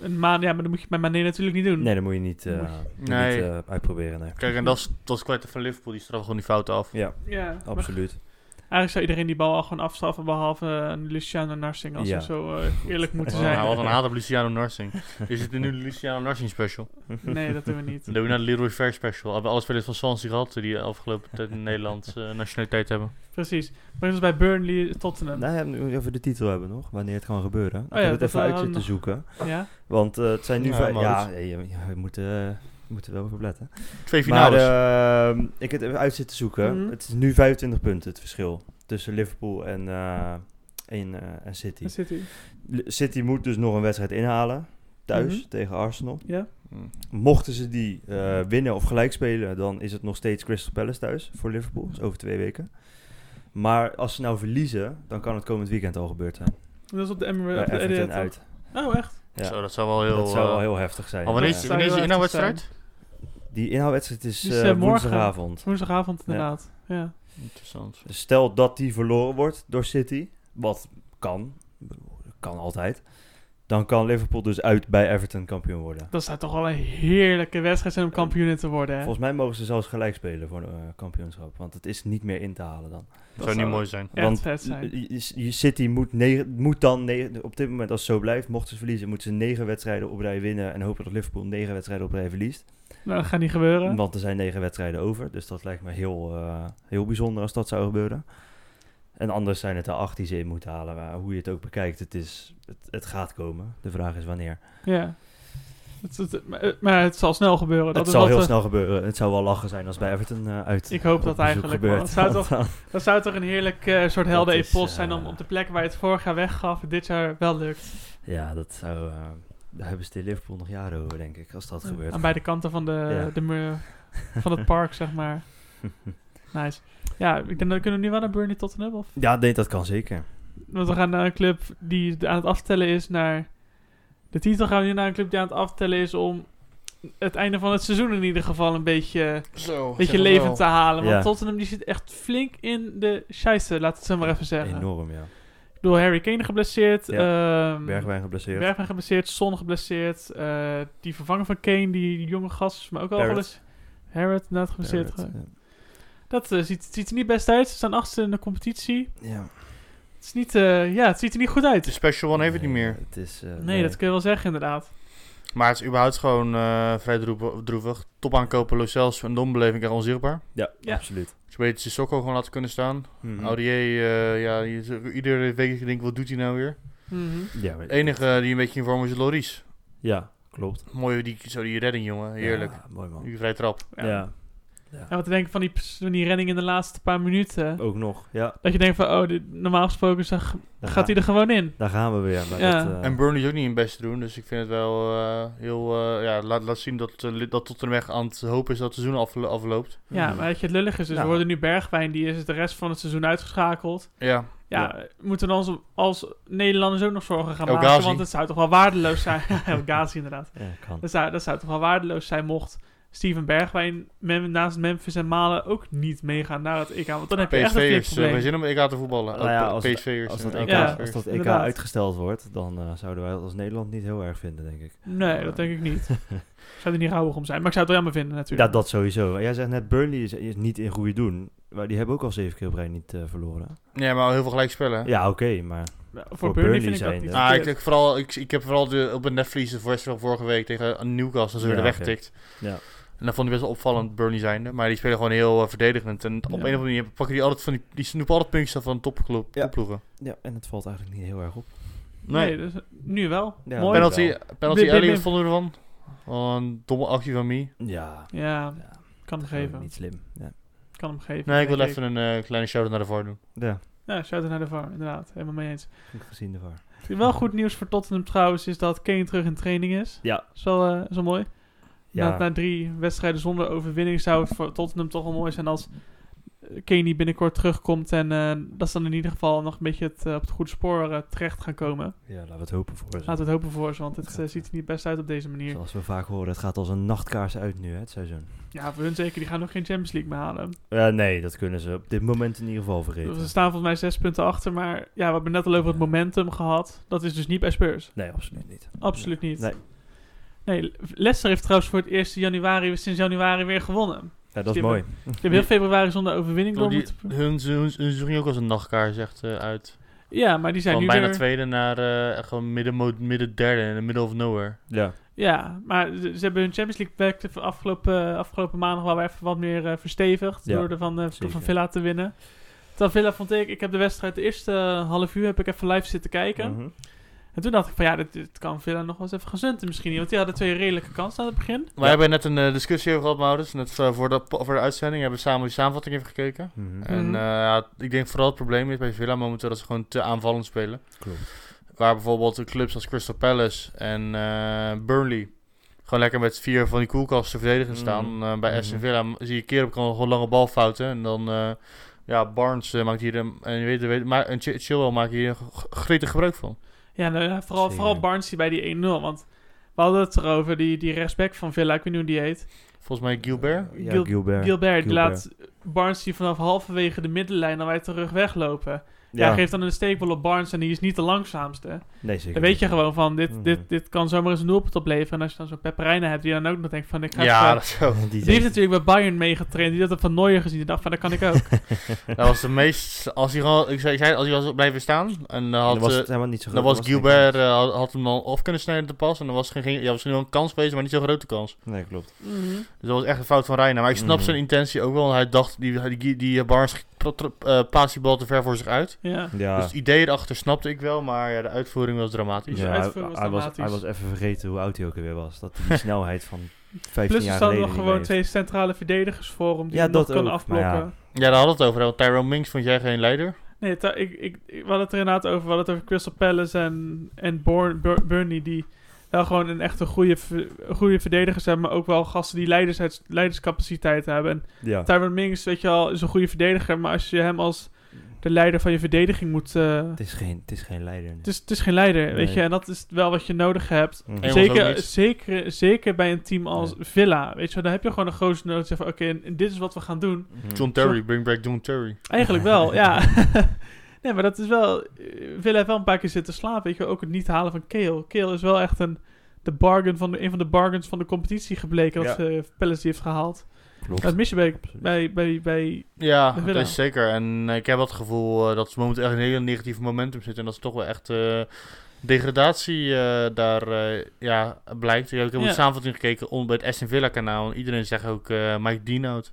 C: Een maan, ja, maar dat moet je bij Mané natuurlijk niet doen.
B: Nee, dat moet je niet, eh, niet
A: Nee.
B: eh, uitproberen. Nee.
A: Kijk, en dat is, dat is kwart van Liverpool, die straft gewoon die fouten af.
B: Ja,
C: Ja, maar
B: absoluut.
C: eigenlijk zou iedereen die bal al gewoon afstraffen, behalve eh, Luciano Narsing, als
B: Ja.
C: we zo eh, eerlijk moeten
A: Oh,
C: zijn.
A: nou, wat een haat op Luciano Narsing. Is het nu de Luciano Narsing special?
C: Nee, dat doen we niet.
A: Dan doen we naar de Leroy Fair special. Hebben we alle spelers van Swansea gehad eh, die afgelopen tijd een Nederlandse eh, nationaliteit hebben.
C: Precies. Brengt ons bij Burnley eh, Tottenham.
B: Nou, ja, nu even de titel hebben nog, wanneer het kan gebeuren. Ik
C: ja,
B: heb het
C: dat
B: even
C: we
B: uit
C: dan
B: zitten
C: nog-
B: zoeken.
C: Ja?
B: Want eh, het zijn nu...
A: Ja,
B: vijf-
A: maar
B: ja,
A: goed.
B: ja, ja, ja, we moeten, eh, we moeten er wel over letten.
A: Twee
B: Maar
A: finales.
B: ehm, ik heb het even uit zitten zoeken.
C: Mhm.
B: Het is nu 25 punten het verschil tussen Liverpool en, eh, en, eh, en City.
C: Daar zit hij.
B: Li- City moet dus nog een wedstrijd inhalen. Thuis
C: Mhm.
B: tegen Arsenal.
C: Ja?
A: Mm.
B: Mochten ze die eh, winnen of gelijk spelen, dan is het nog steeds Crystal Palace thuis voor Liverpool. Dat is over twee weken. Maar als ze nou verliezen, dan kan het komend weekend al gebeurd zijn.
C: Dat is op de
B: Bij
C: Emirates. op de
B: Everton
C: Etihad.
B: uit.
C: Oh, echt?
B: Ja.
A: Zo, dat zou wel heel...
B: dat zou
A: eh,
B: wel heel heftig zijn.
A: Oh, wanneer is,
B: Ja.
A: die-
C: zou
A: wanneer is die
C: heel erg zijn.
A: inhaalwedstrijd?
B: Die inhaalwedstrijd is,
C: Die is,
B: eh,
C: eh, morgen.
B: woensdagavond.
C: Woensdagavond inderdaad. Ja.
A: Interessant.
B: Dus stel dat die verloren wordt door City, wat kan, ik bedoel, kan altijd. Dan kan Liverpool dus uit bij Everton kampioen worden.
C: Dat zou toch wel een heerlijke wedstrijd zijn om kampioen in te worden, hè?
B: Volgens mij mogen ze zelfs gelijk spelen voor een eh, kampioenschap. Want het is niet meer in te halen dan.
A: Dat zou niet mooi zijn.
C: Echt
B: want
C: vet zijn.
B: je- je- je City moet, negen- moet dan, negen- op dit moment als het zo blijft, mochten ze verliezen, moeten ze negen wedstrijden op rij winnen. En hopen dat Liverpool negen wedstrijden op rij verliest.
C: Nou, dat gaat niet gebeuren.
B: Want er zijn negen wedstrijden over. Dus dat lijkt me heel, eh, heel bijzonder als dat zou gebeuren. En anders zijn het er acht die ze in moeten halen. Maar hoe je het ook bekijkt, het, is, het, het gaat komen. De vraag is
C: Oh,
B: wanneer.
C: Ja. Het, het- maar- eh, maar het zal snel gebeuren. Dat
B: het
C: is
B: zal
C: wat eh,
B: heel
C: we-
B: snel gebeuren. Het zou wel lachen zijn als bij Everton eh, uit.
C: Ik hoop
B: op
C: dat
B: bezoek
C: eigenlijk,
B: gebeurt.
C: want het zou toch-
B: Want
C: Dat zou toch een heerlijk eh, soort helden-epos
B: is, eh,
C: zijn om op de plek waar je het vorig jaar weggaf, dit jaar wel lukt.
B: dan- Ja, dat zou. eh, daar hebben ze de Liverpool nog jaren over, denk ik, als dat gebeurt.
C: Aan beide kanten van, de,
B: Ja.
C: de muur van het park, zeg maar. Nice. Ja, ik denk dat we kunnen nu wel naar Burnley Tottenham. Of?
B: Ja, nee, dat kan zeker.
C: Want we gaan naar een club die aan het aftellen is naar... De titel gaan we nu naar een club die aan het aftellen is om het einde van het seizoen in ieder geval een
B: Oh,
C: beetje,
A: Zo.
C: beetje levend te halen. Want
B: Ja.
C: Tottenham die zit echt flink in de scheisse, laat het zo maar even zeggen.
B: Enorm, ja.
C: Ik bedoel, Harry Kane geblesseerd. ehm,
B: Bergwijn geblesseerd.
C: Bergwijn geblesseerd, Son geblesseerd. eh, die vervanger van Kane, die jonge gast, is me ook al
B: Barrett.
C: geblesseerd. Harrod, inderdaad geblesseerd.
B: Gerrard,
C: Dat eh, ziet, ziet er niet best uit. Ze staan achtste in de competitie.
B: eh, ja.
C: Het, is niet, eh, ja, het ziet er niet goed
A: De
C: uit.
A: special one heeft het niet
B: Nee,
A: meer.
B: Het is, eh,
C: Nee, dat kun je wel zeggen, inderdaad.
A: Maar het is überhaupt gewoon eh, vrij droeve- droevig. Top aankopen, Lo Celso en Dombeleving echt onzichtbaar.
B: Ja,
C: Ja.
B: absoluut.
A: Ze weten Sissoko gewoon laten kunnen staan.
B: Mhm.
A: Aurier, eh, ja, die is- iedere week denk ik, wat doet hij nou weer?
C: Mhm.
B: Ja, maar-
A: De enige die een beetje in vorm is, is Loris.
B: ja, klopt.
A: Mooi, die, zo die redding, jongen. Heerlijk.
B: Ja, mooi man.
A: Die vrij trap.
C: Ja.
B: ja.
C: En wat te denken van die, ps- van die renning in de laatste paar minuten.
B: Ook nog, ja.
C: Dat je denkt van, oh, dit- normaal gesproken zeg,
B: Daar
C: gaat
B: ga-
C: hij er gewoon in.
B: Daar gaan we weer. Maar
C: Ja.
B: dat, eh,
A: En Burnley is ook niet hun best te doen, dus ik vind het wel eh, heel... eh, ja, laat, laat zien dat, eh, li- dat Tottenham echt aan het hopen is dat het seizoen aflo- afloopt.
C: Ja,
B: Mhm.
C: maar dat je het lullig is. Dus
B: Nou.
C: we worden nu Bergwijn, die is de rest van het seizoen uitgeschakeld.
A: Ja,
C: Ja, moeten we ons als Nederlanders ook nog zorgen gaan
A: El
C: maken?
A: Ghazi.
C: Want het zou toch wel waardeloos zijn. El Ghazi, inderdaad.
B: ja, kan.
C: Dat zou, dat zou toch wel waardeloos zijn mocht Steven Bergwijn mem- naast Memphis en Malen ook niet meegaan Nou, naar het EK. Want dan heb je echt een flink
A: PSV'ers. eh, geen
C: probleem.
A: zin om EK te voetballen.
B: Nou ja,
A: Ook
B: als-
A: PSV'ers.
B: Als dat
A: eh,
B: EK,
C: Ja,
B: als dat EK
C: inderdaad.
B: uitgesteld wordt, dan eh, zouden wij dat als Nederland niet heel erg vinden, denk ik.
C: Nee, dat denk ik niet. Ik zou er niet gauwig om zijn. Maar ik zou het wel jammer vinden
B: Ja,
C: natuurlijk.
B: dat sowieso. Jij zegt net, Burnley is, is niet in goede doen. Maar die hebben ook al zeven keer op rij niet eh, verloren.
A: Ja, maar heel veel gelijkspellen.
B: Ja, oké, maar...
C: Nou, voor,
B: voor
C: Burnley,
B: Burnley
C: vind ik dat
B: zijn
C: niet.
B: de-
A: Ah, ik,
C: verkeerd.
A: denk vooral, ik, ik heb vooral de, op een netvlies de voorstel vorige week tegen Newcastle. Ze werden
B: Ja, oké.
A: weggetikt.
B: Ja.
A: En dat vond ik best wel opvallend, Burnley zijnde. Maar die spelen gewoon heel eh, verdedigend. En op een of andere manier pakken die altijd van die, die snoepen altijd puntjes af van topploegen.
B: Ja.
A: topploegen.
B: Ja, en het valt eigenlijk niet heel erg op.
A: Nee.
C: Nee, dus nu wel. Mooi.
B: Ja, ben-
A: Penalty,
B: wel.
A: penalty
C: Bim, bim,
A: Elliot
C: bim.
A: vonden we ervan. Wel een domme actie van mij.
B: Ja,
C: Ja.
B: Ja.
C: Kan hem
B: Dat is gewoon
C: geven.
B: Niet slim. Ja.
C: Kan hem geven.
A: Nee, ik wil
C: denk
A: even een eh, kleine shout-out naar de VAR doen.
B: ja,
C: Ja, shout-out naar de VAR, inderdaad. Helemaal mee eens.
B: goed gezien ervoor.
C: Wel goed nieuws voor Tottenham trouwens is dat Kane terug in training is.
B: Ja.
C: Is wel, eh, is wel mooi.
B: Ja,
C: Na, na drie wedstrijden zonder overwinning zou het voor Tottenham toch wel mooi zijn als eh, Kane binnenkort terugkomt. En eh, dat ze dan in ieder geval nog een beetje het, eh, op het goede spoor eh, terecht gaan komen.
B: ja, laten we het hopen voor ze.
C: Laten we het hopen voor ze, want het eh, ziet er niet best uit op deze manier.
B: Zoals we vaak horen, het gaat als een nachtkaars uit nu, hè, het seizoen.
C: Ja, voor hun zeker. Die gaan nog geen Champions League meer halen.
B: Ja, nee, dat kunnen ze op dit moment in ieder geval vergeten.
C: Ze staan volgens mij zes punten achter, maar ja, we hebben net al over het momentum gehad. Dat is dus niet bij Spurs.
B: Nee, absoluut niet.
C: Absoluut niet.
B: Nee.
C: Nee, Leicester heeft trouwens voor het eerst in januari, sinds januari weer gewonnen. Die
B: Ja, dat is
C: hebben-
B: mooi.
C: Ze hebben heel februari zonder overwinning door
A: Die,
C: moeten...
A: hun, hun, hun zoeken ook als een nachtkaars echt eh, uit.
C: Ja, maar die zijn
A: Van
C: nu
A: bijna
C: er-
A: tweede naar eh, echt gewoon midden, mo- midden derde in de middle of nowhere.
B: Ja,
C: Ja, maar ze ze hebben hun Champions League plek de afgelopen, eh, afgelopen maandag wel weer even wat meer eh, verstevigd.
B: Ja,
C: door de van, eh, door
B: zeker.
C: van Villa te winnen. Terwijl Villa vond ik, ik heb de wedstrijd de eerste eh, half uur heb ik even live zitten kijken.
B: Mhm.
C: En toen dacht ik van ja, dit, dit kan Villa nog wel eens even gaan zunten misschien. niet, Want die hadden twee redelijke kansen aan het begin.
A: Wij hebben net een eh, discussie over gehad, Maurits. Net eh, voor, de, voor de uitzending hebben we samen die samenvatting even gekeken.
B: Mhm.
A: En
C: Mhm.
A: eh, ja, ik denk vooral het probleem is bij Villa momenteel dat ze gewoon te aanvallend spelen.
B: klopt.
A: Waar bijvoorbeeld de clubs als Crystal Palace en eh, Burnley gewoon lekker met vier van die koelkasten verdedigen staan.
B: Mm.
A: Eh, bij
B: Mhm.
A: Aston Villa m- zie je keer op kan gewoon lange balfouten. En dan, eh, ja, Barnes eh, maakt hier een, en je weet, weet, maar, en Ch- Chilwell maakt hier g- g- gretig gebruik van.
C: Ja, nou ja, vooral,
B: Zeker.
C: vooral Barnes die bij die 1-0. Want we hadden het erover, die, die rechtsback van Villa, ik weet niet hoe die heet.
A: Volgens mij Gilbert.
B: Ja,
C: Gil-
B: Gilbert.
C: Gilbert, die
B: Gilbert.
C: laat Barnes die vanaf halverwege de middenlijn al uit de rug weglopen. Ja,
B: Ja,
C: geeft dan een steekbal op Barnes en die is niet de langzaamste.
B: nee, zeker.
C: Dan weet
B: niet.
C: je gewoon van, dit,
B: Mhm.
C: dit, dit kan zomaar eens een doelpunt opleveren. En als je dan zo'n Pepperijnen hebt die dan ook nog denkt van, ik ga...
A: Ja,
C: even-
A: dat zo.
B: Die
C: die heeft
B: denkt-
C: natuurlijk bij Bayern meegetraind. Die had dat van Neuer gezien. Die dacht van, dat kan ik ook.
A: Dat was de meest. Als hij gewoon, ik zei, ik zei, als hij was blijven staan. En dan
B: Dan
A: had,
B: was
A: eh,
B: het helemaal niet zo
A: dan
B: groot,
A: was
B: er geen
A: Gilbert
B: kans.
A: eh, had, had hem dan af kunnen snijden te pas. En dan was geen, geen, ja, was nu wel een kans geweest, maar niet zo'n grote kans.
B: Nee, klopt.
A: Dus dat was echt een fout van Reina. Maar ik snap
B: Mhm.
A: zijn intentie ook wel. Hij dacht, die, die, die Barnes tro- tro- eh, paast die bal te ver voor zich uit.
C: Ja.
B: Ja,
A: Dus het idee erachter snapte ik wel, maar ja, de uitvoering was dramatisch.
C: Ja.
B: ja hij,
C: uitvoering was
B: hij was,
C: dramatisch.
B: hij was even vergeten hoe oud hij ook weer was. Dat die snelheid van 15
C: Plus er
B: jaar
C: staan
B: geleden
C: nog
B: niet
C: gewoon
B: meer
C: twee centrale verdedigers voor om die
B: Ja,
C: hem nog
B: dat
C: kan
B: ook,
C: afblokken.
B: maar ja.
A: Ja, daar hadden we het over. hè, Want Tyrone Minks vond jij geen leider.
C: Nee, ta- ik, ik, ik- we hadden het er inderdaad over. We hadden het over Crystal Palace en, en Born, Bur- Burnley, die wel gewoon een echte goede, ver- goede verdedigers hebben. Maar ook wel gasten die leiders, leiderscapaciteit hebben. En
B: heeft. Ja.
C: Tyrone Mings, weet je al, is een goede verdediger. Maar als je hem als de leider van je verdediging moet... eh,
B: Het is geen, het is geen leider. nu.
C: het, is, het is geen leider, weet
B: Nee.
C: je. En dat is wel wat je nodig hebt.
B: Mhm.
A: En- was ook
C: Zeker,
A: niks.
C: zeker, zeker bij een team als
B: Nee.
C: Villa. Weet je, wel, dan heb je gewoon een groot nodig. Zeg van, Oké, en- en dit is wat we gaan doen.
B: Mhm.
A: John Terry, bring back John Terry.
C: Eigenlijk wel, ja. nee, maar dat is wel... eh, Villa heeft wel een paar keer zitten slapen. Weet je wel, ook het niet halen van Keel. Keel is wel echt een, de bargain van de, een van de bargains van de competitie gebleken. Dat
B: Ja.
C: ze eh, Palace die heeft gehaald.
B: Klopt.
C: Dat mis je bij...
B: Absoluut.
C: bij, bij, bij
A: Ja,
C: De
A: dat
C: winnaar.
A: is zeker. En eh, ik heb het gevoel eh, dat ze momenteel echt in een heel negatief momentum zitten. En dat ze toch wel echt eh, degradatie eh, daar eh, ja, blijkt. Ik heb ook
C: Ja.
A: de samenvatting gekeken on, bij het Aston Villa kanaal. En iedereen zegt ook eh, Mike Dinout.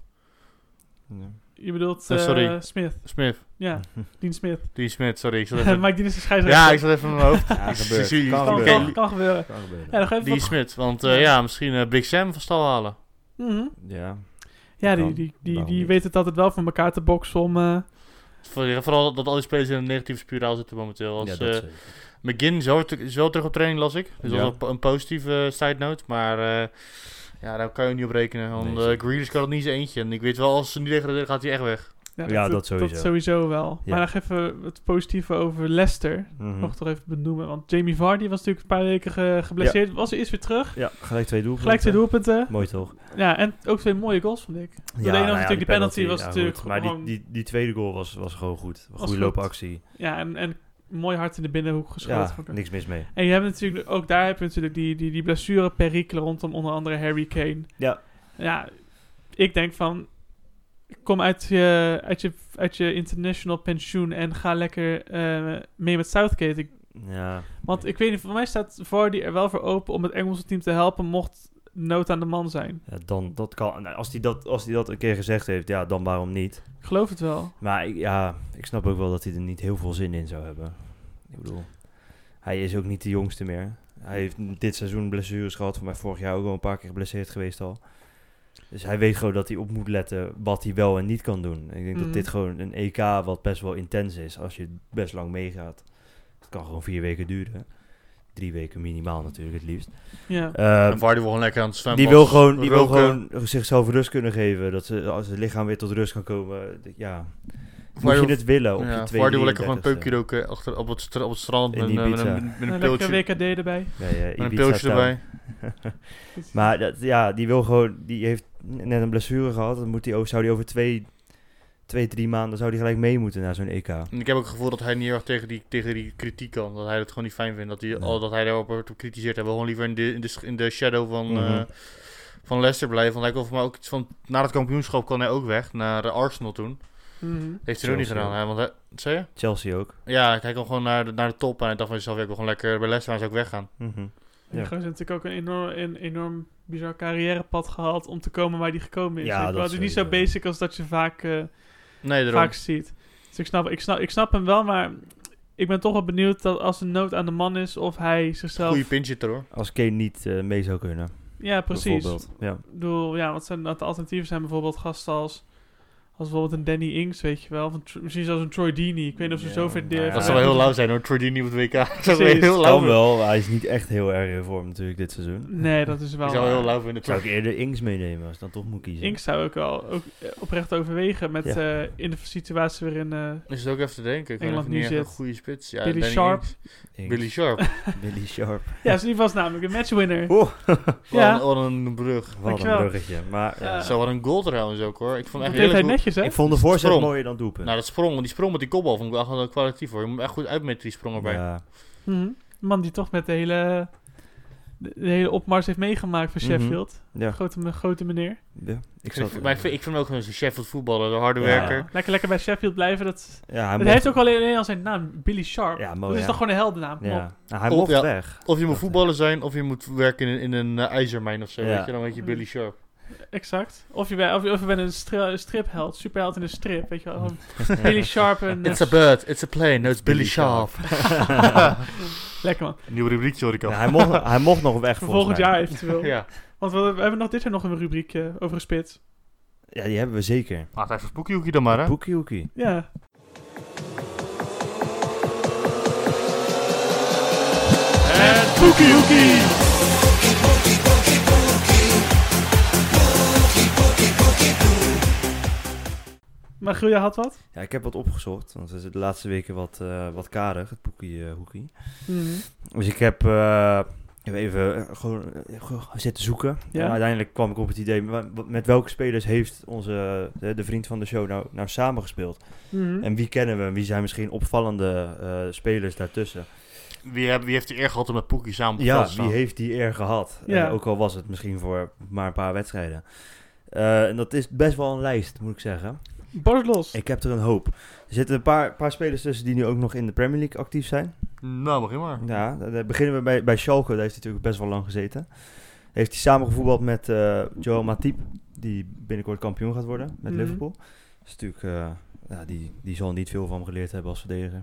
B: Ja. Mhm.
C: je bedoelt
A: Eh,
C: eh
A: sorry.
C: Smith.
A: Smith.
C: Ja, Dean Smith.
A: Dean Smith, sorry. Ik zat even...
C: Mike Dean is de scheidsrechter.
A: ja, ik zat even in mijn hoofd.
B: Ja, gebeurt.
A: Zie-
B: Kan
C: kan,
B: gebeuren.
C: kan, kan gebeuren.
B: Kan gebeuren.
C: Ja, dan ga je even
A: Dean
C: wat-
A: Smith. Want eh,
C: Ja.
A: ja, misschien eh, Big Sam van stal halen.
C: Mhm.
B: Ja.
C: Ja, die, die,
B: Kan.
C: die,
B: Waarom
C: die
B: niet?
C: weet het altijd wel van elkaar te boksen om... eh,
A: Voor- Vooral dat al die spelers in een negatieve spiraal zitten momenteel. Als,
B: ja, dat
A: eh,
B: zeker.
A: McGinn is wel, weer te- is wel terug op training, las ik. Dus
B: Ja.
A: dat is wel een positieve side note. Maar eh, ja, daar kan je niet op rekenen. Want
B: Nee,
A: eh,
B: zeker.
A: Grealish kan het niet zijn eentje. En ik weet wel, als ze nu degraderen, gaat hij echt weg.
C: ja,
B: Ja, dat sowieso.
C: Dat sowieso wel.
B: Ja.
C: Maar nog even het positieve over Leicester.
B: Mhm.
C: Nog toch even benoemen. Want Jamie Vardy was natuurlijk een paar weken ge- geblesseerd. Was er eerst weer terug.
B: Ja, gelijk twee doelpunten.
C: Gelijk twee doelpunten.
B: Mooi toch?
C: Ja, en ook twee mooie goals, vond ik. Ja, de ene was
B: nou
C: natuurlijk de penalty, was
B: ja,
C: natuurlijk
B: goed. Maar die,
C: gewoon-
B: die, die tweede goal was, was gewoon goed. Goede
C: goed.
B: loopactie.
C: Ja, en, en mooi hard in de binnenhoek geschoten.
B: Ja, niks mis mee.
C: En je hebt natuurlijk, ook daar heb je natuurlijk die, die, die blessure perikelen rondom onder andere Harry Kane.
B: Ja.
C: Ja, ik denk van, kom uit je, uit je, uit je international pensioen en ga lekker eh, mee met Southgate. Ik
B: Ja.
C: Want ik weet niet, voor mij staat Vardy er wel voor open om het Engelse team te helpen mocht nood aan de man zijn.
B: Ja, dan, dat kan, nou, als hij dat, als die dat een keer gezegd heeft, ja, dan waarom niet?
C: Ik geloof het wel.
B: Maar ik, ja, ik snap ook wel dat hij er niet heel veel zin in zou hebben. Ik bedoel, hij is ook niet de jongste meer. Hij heeft dit seizoen blessures gehad, voor mij vorig jaar ook al een paar keer geblesseerd geweest al. Dus hij weet gewoon dat hij op moet letten wat hij wel en niet kan doen. En ik denk
C: Mhm.
B: dat dit gewoon een EK wat best wel intens is als je best lang meegaat. Het kan gewoon vier weken duren. Drie weken minimaal natuurlijk het liefst.
C: Ja.
A: Eh,
B: Ehm,
A: en Vardy wil gewoon lekker aan het zwemmen.
B: die wil gewoon, die wil gewoon zichzelf rust kunnen geven. Dat ze, als het lichaam weer tot rust kan komen. d- Ja. Moet
A: Vardy
B: je
A: wil-
B: dit willen op je
A: Ja,
B: twee
A: Vardy wil lekker gewoon een peukje
B: 33ste?
A: roken achter, op, het stra- op het strand
B: In
A: met, een- eh, met,
B: Ibiza.
A: een, met een
C: Een Eh, lekker
A: piltje,
C: WKD erbij. Dus-
B: Ja, ja,
A: met een
B: Ibiza
A: piltje
B: town.
A: erbij.
B: Maar dat, ja, die wil gewoon, die heeft net een blessure gehad. Dan moet hij ook, zou die over twee, twee, drie maanden zou die gelijk mee moeten naar zo'n EK.
A: En ik heb ook het gevoel dat hij niet erg tegen die, tegen die kritiek kan. Dat hij dat gewoon niet fijn vindt. Dat hij,
B: Nee.
A: al, dat hij daarop wordt op kritiseert. Hij wil gewoon liever in de, in de, sch- in de shadow van,
B: Mhm.
A: eh, van Leicester blijven. Want hij kon voor mij ook iets van... Na het kampioenschap kon hij ook weg. Naar eh, Arsenal toen.
C: Mhm.
A: Heeft hij ook niet
B: Chelsea.
A: gedaan. Hè? Want hij, wat zei je?
B: Chelsea ook.
A: Ja, hij kon gewoon naar de, naar de top. En hij dacht van zichzelf, ja, ik wil gewoon lekker bij Leicester. Hij zou ook weggaan.
B: Mhm.
C: Die
B: Ja.
C: gozer heeft natuurlijk ook een enorm, een enorm bizar carrièrepad gehad om te komen waar die gekomen is.
B: Ja,
C: Ja,
B: dat
C: dat is niet zo
B: sowieso.
C: basic als dat je vaak, eh,
A: Nee, daarom.
C: vaak ziet. Dus ik snap, ik, snap, ik snap hem wel, maar ik ben toch wel benieuwd dat als een nood aan de man is of hij zichzelf...
A: Goeie pinch hitter, hoor.
B: Als Kane niet eh, mee zou kunnen.
C: ja, precies.
B: Bijvoorbeeld. Ja.
C: Ik bedoel, ja, wat zijn dat de alternatieven zijn bijvoorbeeld gasten als... Als bijvoorbeeld een Danny Inks, weet je wel. Van, Tr- misschien zelfs een Troy Deeney. Ik weet niet of ze
B: Ja,
C: zover...
B: nou ja.
A: Dat
B: Ja.
A: zou wel heel lauw zijn hoor, Trudini op het WK. Dat zou wel
C: Precies.
A: heel lauw
B: Kan
A: zijn.
B: wel, maar hij is niet echt heel erg in vorm natuurlijk dit seizoen.
C: Nee, dat is wel...
A: Ik zou wel heel
C: waar.
A: lauw vinden.
B: Zou ik eerder Ings meenemen als ik dan toch moet kiezen.
C: Inks zou ik wel ook eh, oprecht overwegen met
B: Ja.
C: eh, in de situatie waarin... eh,
A: Is het ook even te denken. Ik weet
C: Engeland
A: even niet
C: nu
A: echt een
C: zit.
A: goede spits. Ja,
C: Billy
A: Danny
C: Sharp.
A: Ings.
B: Ings.
A: Billy Sharp.
B: Billy Sharp.
C: ja, dus die was namelijk een matchwinner.
B: Oeh,
C: Ja.
A: Wat, een, wat een brug.
B: wat
C: Dankjewel. Eh,
B: een bruggetje. Maar
C: Ja.
B: ja.
A: Zo, wat een goal trouwens ook hoor. Ik vond
C: Dat
A: echt
C: deed hij
A: heel
C: netjes, hè?
B: ik vond de voorzet
A: Sprong.
B: mooier dan doelpunt.
A: Nou, dat sprong, want die sprong met die kopbal vond ik wel echt wel kwalitatief hoor. Je moet echt goed uitmeten die sprong erbij.
B: Ja.
C: Mhm. Man die toch met de hele, de, de hele opmars heeft meegemaakt voor
B: Mhm.
C: Sheffield.
B: Ja.
C: grote, me- grote meneer.
B: Ja. Ik
A: Ik,
B: zat,
A: vind, maar ik vind, ik vind hem ook gewoon zo'n Sheffield voetballer, een harde
B: Ja.
A: werker.
C: Lekker, lekker bij Sheffield blijven. Dat,
B: eh, ja, hij
C: dat
B: mocht-
C: heeft ook alleen, alleen al zijn naam, Billy Sharp.
B: Ja, mooi,
C: dat is
B: hè?
C: toch gewoon een heldennaam. kom op.
B: Ja. Nou, hij
A: Op,
B: mocht
A: ja.
B: weg.
A: Of je moet
B: Dat,
A: voetballer zijn, of je moet werken in, in een eh, ijzermijn of zo.
B: Ja.
A: Weet je, dan weet je Billy Sharp.
C: Exact. Of je, bij, of, je- of je bent een stri- een stripheld, superheld in een strip. Weet je wel. Gewoon Billy Sharp en... eh,
A: It's a bird, it's a plane, no, it's Billy,
B: Billy
A: Sharp.
B: Sharp.
C: lekker man.
A: Nieuwe rubriek, sorry,
B: Ja, hij, mocht, hij mocht nog weg
C: Voor
B: volgens
C: volgend
B: mij.
C: jaar eventueel.
A: Ja.
C: Want we, we hebben nog dit jaar nog een rubriek eh, over een spits.
B: Ja, die hebben we zeker.
A: Laat even Spookiehoekie dan maar, hè.
B: Boekie Hoekie.
C: Ja.
A: En Spookiehoekie!
C: Maar Giel, jij had wat?
B: Ja, ik heb wat opgezocht, want het is de laatste weken wat, eh, wat karig, het boekie eh, hoekie.
C: Mhm.
B: Dus ik heb, eh, ik heb even eh, gewoon, eh, gewoon zitten zoeken.
C: Ja.
B: En uiteindelijk kwam ik op het idee, wa- wa- met welke spelers heeft onze, de, de vriend van de show nou, nou samengespeeld?
C: Mhm.
B: En wie kennen we? En Wie zijn misschien opvallende eh, spelers daartussen?
A: Wie, heb- wie heeft de eer gehad om met Poekie samen op het
B: Ja,
A: veld te
B: wie
A: staan?
B: heeft die eer gehad?
C: Ja.
B: En ook al was het misschien voor maar een paar wedstrijden. Eh, en dat is best wel een lijst, moet ik zeggen.
C: Barst los.
B: Ik heb er een hoop. Er zitten een paar, paar spelers tussen die nu ook nog in de Premier League actief zijn.
C: Oh.
A: Nou, begin maar.
B: Ja, daar- daar beginnen we bij, bij Schalke. Daar heeft hij natuurlijk best wel lang gezeten. Heeft hij samengevoetbald met eh Joel Matip, die binnenkort kampioen gaat worden met
C: Mhm.
B: Liverpool. Dat is natuurlijk, eh, ja, die, die zal niet veel van hem geleerd hebben als verdediger,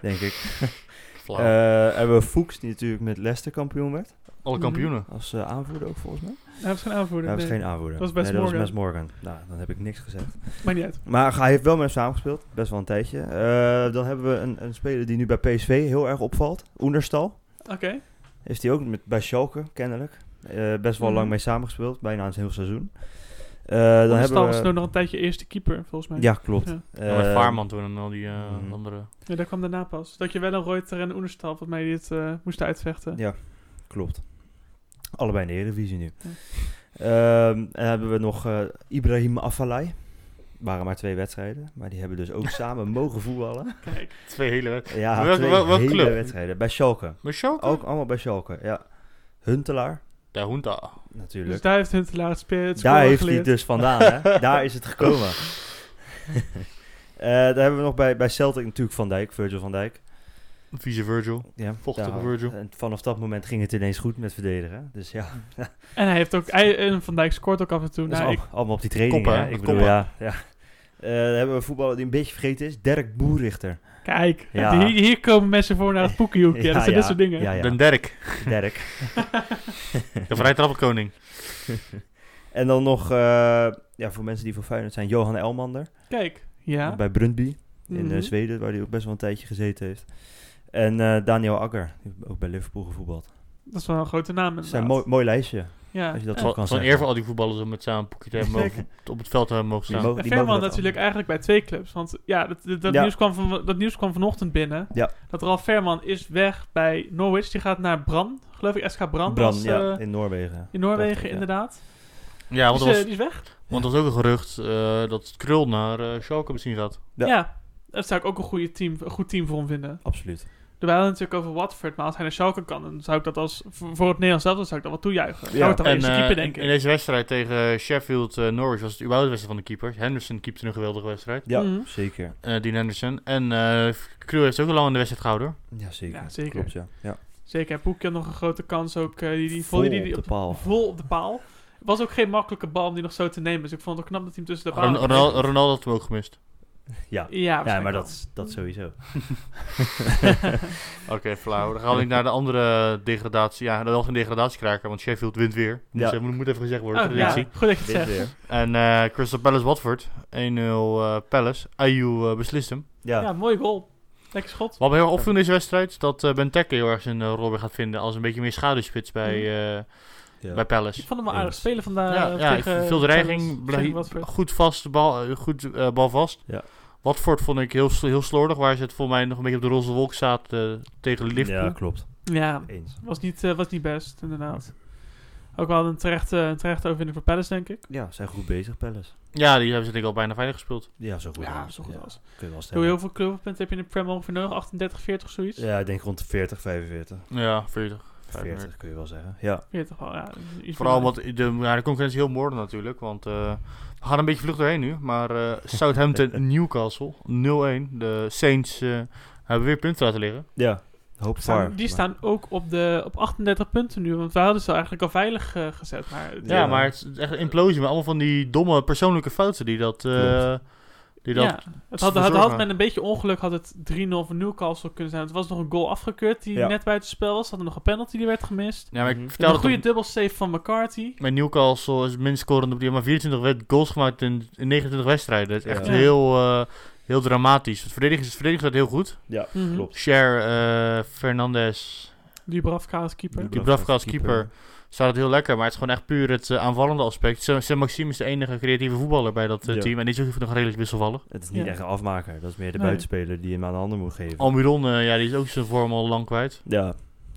B: denk ik.
A: Flauw.
B: Eh hebben we Fuchs, die natuurlijk met Leicester kampioen werd,
A: Alle kampioenen.
B: als eh, aanvoerder ook volgens mij.
C: Hij was geen aanvoerder.
B: Hij was
C: nee.
B: geen aanvoerder.
C: Dat was Wes
B: nee, dat was
C: Morgan.
B: Wes Morgan. Nou, dan heb ik niks gezegd.
C: Maakt niet uit.
B: Maar hij heeft wel met hem samengespeeld, best wel een tijdje. Eh, dan hebben we een, een speler die nu bij PSV heel erg opvalt, Oenerstal.
C: Oké.
B: Eh, Heeft hij ook met, bij Schalke, kennelijk. eh, best wel
C: Mhm.
B: lang mee samengespeeld, bijna een heel seizoen. Eh, dan
C: Dan
B: hebben
C: was
B: we...
C: toen nog een tijdje eerste keeper, volgens mij.
B: Ja, klopt.
C: Ja.
B: Eh,
A: Ja, met Vaarman toen en al die eh,
B: Mhm.
A: andere.
C: Ja, daar kwam daarna pas. Dat je wel een Reuter en een Oenerstal, volgens mij, die het eh, moesten uitvechten.
B: Ja, klopt. Allebei in de Eredivisie nu.
C: Ja.
B: Ehm, en hebben we nog eh, Ibrahim Afellay. Waren maar twee wedstrijden, maar die hebben dus ook samen mogen voetballen.
C: Kijk.
A: Twee hele...
B: Ja,
A: Welke-
B: twee
A: wel- welke
B: hele
A: club?
B: wedstrijden. Bij Schalke.
A: Maar Schalke?
B: Ook allemaal bij Schalke, ja. Huntelaar,
A: De Hoenta.
B: natuurlijk.
C: Dus daar heeft Huntelaar het speel het
B: Daar
C: scoren
B: heeft hij
C: geleerd.
B: het dus vandaan, hè? Daar is het gekomen. Eh daar hebben we nog bij, bij Celtic natuurlijk Van Dijk, Virgil van Dijk.
A: Vieze Virgil.
B: Ja,
A: Vochtige
B: daar-
A: Virgil.
B: En vanaf dat moment ging het ineens goed met verdedigen. hè. Dus ja,
C: En hij heeft ook... Hij, en Van Dijk scoort ook af en toe.
B: dat is
C: Nou,
B: al-
C: ik,
B: allemaal op die training.
A: Koppen,
B: hè.
A: hè?
B: Ik
A: Met
B: bedoel,
A: koppen.
B: ja. ja. Eh, dan hebben we een voetballer die een beetje vergeten is. Dirk Boerichter.
C: kijk,
B: Ja.
C: hier, hier komen mensen voor naar het boekenhoekje. dat zijn dit soort dingen.
B: Ja, ja.
A: Den Derk.
B: Dirk.
A: De Vrij Trappenkoning.
B: en En dan nog, eh, ja, voor mensen die voor Feyenoord zijn, Johan Elmander.
C: Kijk, ja.
B: Bij Brundby in eh,
C: Mhm.
B: Zweden, waar hij ook best wel een tijdje gezeten heeft. En eh, Daniel Agger, die heeft ook bij Liverpool gevoetbald.
C: Dat is wel een grote naam.
B: Het zijn
C: inderdaad.
B: mooi, mooi lijstje.
C: Ja.
B: Als je dat
A: Het
B: zo
A: wa-
B: kan
A: het was een
B: zeggen.
A: eer voor al die voetballers om met samen een poekje te hebben
C: Zeker.
A: mogen- op het veld te hebben mogen
B: Die
A: staan.
B: mogen-
C: En
B: die
C: Veerman
B: mogen dat
C: natuurlijk eigenlijk bij twee clubs. Want ja, dat, dat, dat
B: Ja.
C: Nieuws kwam van, dat nieuws kwam vanochtend binnen.
B: Ja.
C: Dat Ralf Veerman is weg bij Norwich. Die gaat naar Bran, geloof ik. SK Bran,
B: Bran,
C: was,
B: ja,
C: eh,
B: in Noorwegen.
C: in Noorwegen,
B: Dacht ik, ja.
C: inderdaad.
A: Ja, want
C: Dus,
A: er
C: eh,
A: was,
C: die is weg.
A: want er was ook een gerucht eh, dat Krul naar eh Schalke misschien gaat.
C: Ja.
B: Ja.
C: Dat zou ik ook een, goede team, een goed team voor hem vinden.
B: Absoluut.
C: We hadden het natuurlijk over Watford, maar als hij naar Schalke kan, dan zou ik dat als voor, voor het Nederlands zelf, dan zou ik dat wel toejuichen.
B: Ja.
C: Zou ik dan
A: En
C: eens de
A: eh,
C: keeper
A: in,
C: denken.
A: in deze wedstrijd tegen eh, Sheffield eh, Norwich was het überhaupt de wedstrijd van de keepers. Henderson keepte een geweldige wedstrijd.
B: Ja,
C: Mhm.
B: zeker.
A: eh Dean Henderson. En eh Krul heeft ook al lang in de wedstrijd gehouden. hoor.
B: Ja, zeker.
C: Ja, zeker.
B: Klopt, ja. ja.
C: Zeker, en Poelke had nog een grote kans ook. eh, die, die
B: Vol
C: volley die, die
B: op de paal.
C: vol op de paal. Het was ook geen makkelijke bal om die nog zo te nemen. Dus ik vond het ook knap dat hij hem tussen de paal...
A: Ron- Ronal- Ronaldo had hem ook gemist.
B: Ja,
C: Ja, Mhm.
B: ja
C: waarschijnlijk
B: maar
C: wel.
B: dat, is- dat sowieso.
A: Oké, flauw. Dan gaan we naar de andere degradatie. Ja, dat was een degradatiekraker, want Sheffield wint weer. Moet,
B: Ja.
A: ze- moet even gezegd worden.
C: Oh,
A: voor de
C: ja.
A: editie.
C: Goed dat je het
B: Dit
C: zegt.
B: weer.
A: En eh, Crystal Palace Watford. 1-0 eh, Palace. Ayu eh, beslist hem.
B: Ja,
C: Ja, mooie goal. Lekker schot.
A: Wat me heel erg opviel in deze wedstrijd, dat eh Benteke heel erg zijn eh, rol weer gaat vinden als een beetje meer schaduwspits bij, eh,
B: ja.
A: bij Palace.
C: Ik vond hem wel aardig
B: Eens.
C: spelen vandaag.
A: Ja,
C: eh,
A: ja,
C: tegen,
A: veel dreiging,
C: tegen
A: blij-
C: Watford.
A: Goed vast, de bal, eh, goed eh, bal vast.
B: Ja.
A: Watford vond ik heel, sl- heel slordig, waar ze het voor mij nog een beetje op de roze wolk zaten eh, tegen Liverpool.
B: Ja, klopt.
C: Ja,
B: Eens.
C: was niet, eh, was niet best, inderdaad. Ook wel een terechte, een terechte overwinning voor Palace, denk ik.
B: Ja, zijn goed bezig, Palace.
A: Ja, die hebben ze denk ik al bijna veilig gespeeld.
B: Ja, zo goed
C: Ja,
B: als.
C: zo goed
B: Ja,
C: als.
B: kun je wel
C: Heel
B: stellen.
C: heel veel clubpunten heb je in de Premier ongeveer nodig. 38, 40, zoiets.
B: Ja, ik denk rond de 40, 45.
A: Ja, 40.
B: 40 kun je wel zeggen. Ja,
C: 40 wel, ja. iets
A: Vooral
C: minder.
A: omdat de, ja, de concurrentie heel moord natuurlijk, want eh, we gaan een beetje vlug doorheen nu. Maar eh, Southampton Newcastle 0-1. De Saints eh, hebben weer punten laten liggen.
B: ja. Hoop
C: Staan-
B: VAR.
C: die
B: maar-
C: staan ook op, de, op 38 punten nu, want we hadden ze eigenlijk al veilig eh, gezet. Maar het-
A: Ja,
B: Ja.
A: maar het is echt een implosie met allemaal van die domme persoonlijke fouten die dat... eh, die dat
C: ja, het had, had,
A: verzorgen.
C: had met een beetje ongeluk had het 3-0 voor Newcastle kunnen zijn. Het was nog een goal afgekeurd die
B: Ja.
C: net buiten spel was. Ze Hadden nog een penalty die werd gemist.
A: Ja, maar
B: Mhm.
A: ik
C: Ja, een
A: vertelde
C: goede
A: het
C: dubbel save van McCarthy.
A: met Newcastle is het minst scorend op die maar 24 wed- goals gemaakt in, in 29 wedstrijden. Dat is echt
B: Ja.
A: heel, eh, heel dramatisch. Het verdediging, het verdediging staat heel goed.
B: Ja,
C: Mhm.
B: klopt.
A: Cher, eh Fernandez,
C: Dubravka als keeper.
A: Die Dubravka als keeper. staat het heel lekker. Maar het is gewoon echt puur het eh, aanvallende aspect. Saint Saint Maxime is de enige creatieve voetballer bij dat eh,
B: Ja.
A: team. En die is ook nog redelijk wisselvallig.
B: Het is niet
C: Ja.
B: echt een afmaker. Dat is meer de
C: Nee.
B: buitenspeler die hem aan de ander moet geven.
A: Almiron, eh, ja, die is ook zijn vorm al lang kwijt. Het
B: ja.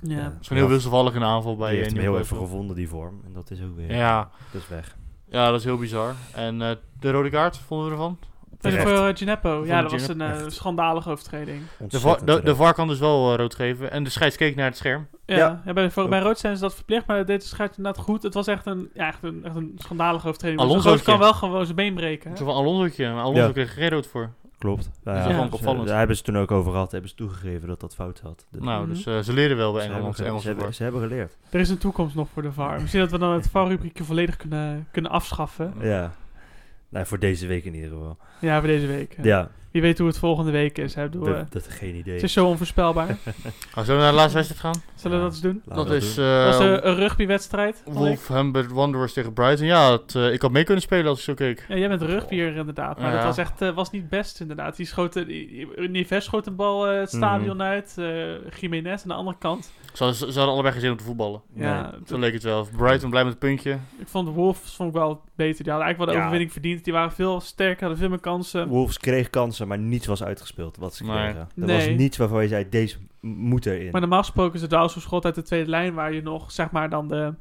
C: Ja.
A: is gewoon heel wisselvallig in de aanval bij
B: Hij heeft
A: eh,
B: hem heel even
A: Newcastle.
B: gevonden, die vorm. En dat is ook weer...
A: Ja.
B: Dat is weg.
A: ja, dat is heel bizar. En eh, de rode kaart, vonden we ervan?
C: En
B: Terecht.
C: voor eh, Gineppo. Ja,
A: Van
C: dat was een
A: Gineppo.
C: eh, schandalige overtreding.
A: De,
B: Ontzettend
A: var, de, de
B: terecht.
A: VAR kan dus wel eh, rood geven. En de scheids keek naar het scherm.
C: Ja,
B: Ja.
C: ja, bij, voor, bij Rood zijn ze dat verplicht, maar dat deed de scheids inderdaad goed. Het was echt een, ja, echt een, echt een schandalige overtreding. Want zo'n gozer kan
A: Alonso'tje.
C: wel gewoon zijn been breken. hè?
A: Zo van Alonso'tje. Maar Alonso
B: Ja.
A: kreeg er geen rood voor.
B: Klopt. Nou
A: is
B: ja,
A: wel
B: ja.
A: ook opvallend.
B: Ze- Daar hebben ze het toen ook over gehad. Hebben ze toegegeven dat dat fout had. Dus
A: Nou,
C: Mhm.
A: dus eh, ze leren wel bij
B: ze, hebben,
A: Engeland.
B: ge- ze,
A: Engelse
B: hebben,
A: VAR.
B: ze hebben geleerd.
C: Er is een toekomst nog voor de VAR. Misschien dat we dan het VAR-rubriekje volledig kunnen, kunnen afschaffen.
B: Ja. Nou, voor deze week in ieder geval.
C: Ja, voor deze week. hè.
B: Ja,
C: Wie weet hoe het volgende week is. Hè? Ik bedoel, eh,
B: dat, dat geen
C: het
B: idee.
C: is zo onvoorspelbaar.
A: Gaan Oh, we naar de laatste wedstrijd gaan?
C: Zullen we dat eens doen?
B: Laten we
A: dat is
B: doen.
A: eh,
C: Dat was eh, een rugbywedstrijd. Malik.
A: Wolfhampton Wanderers tegen Brighton. Ja, het, eh, ik had mee kunnen spelen als ik zo keek.
C: Ja, jij bent rugbier inderdaad, maar
A: Ja.
C: dat was echt eh, was niet best inderdaad. Die schoten, Nives schoot een bal eh, het
B: Mhm.
C: stadion uit, eh Jiménez aan de andere kant.
A: Ze hadden, ze hadden allebei geen zin om te voetballen.
C: Ja,
B: Nee.
C: dat-
A: Zo leek het wel. Brighton blij met het puntje.
C: ik vond de Wolves vond ik wel beter. Die hadden eigenlijk wel de
B: Ja.
C: overwinning verdiend. Die waren veel sterker, hadden veel meer kansen.
B: Wolves kreeg kansen, maar niets was uitgespeeld wat ze
A: eh, Nee.
B: kregen. Er
C: Nee.
B: was niets waarvan je zei, deze m- moet erin.
C: Maar normaal gesproken is het wel zo'n schot uit de tweede lijn waar je nog, zeg maar, dan de...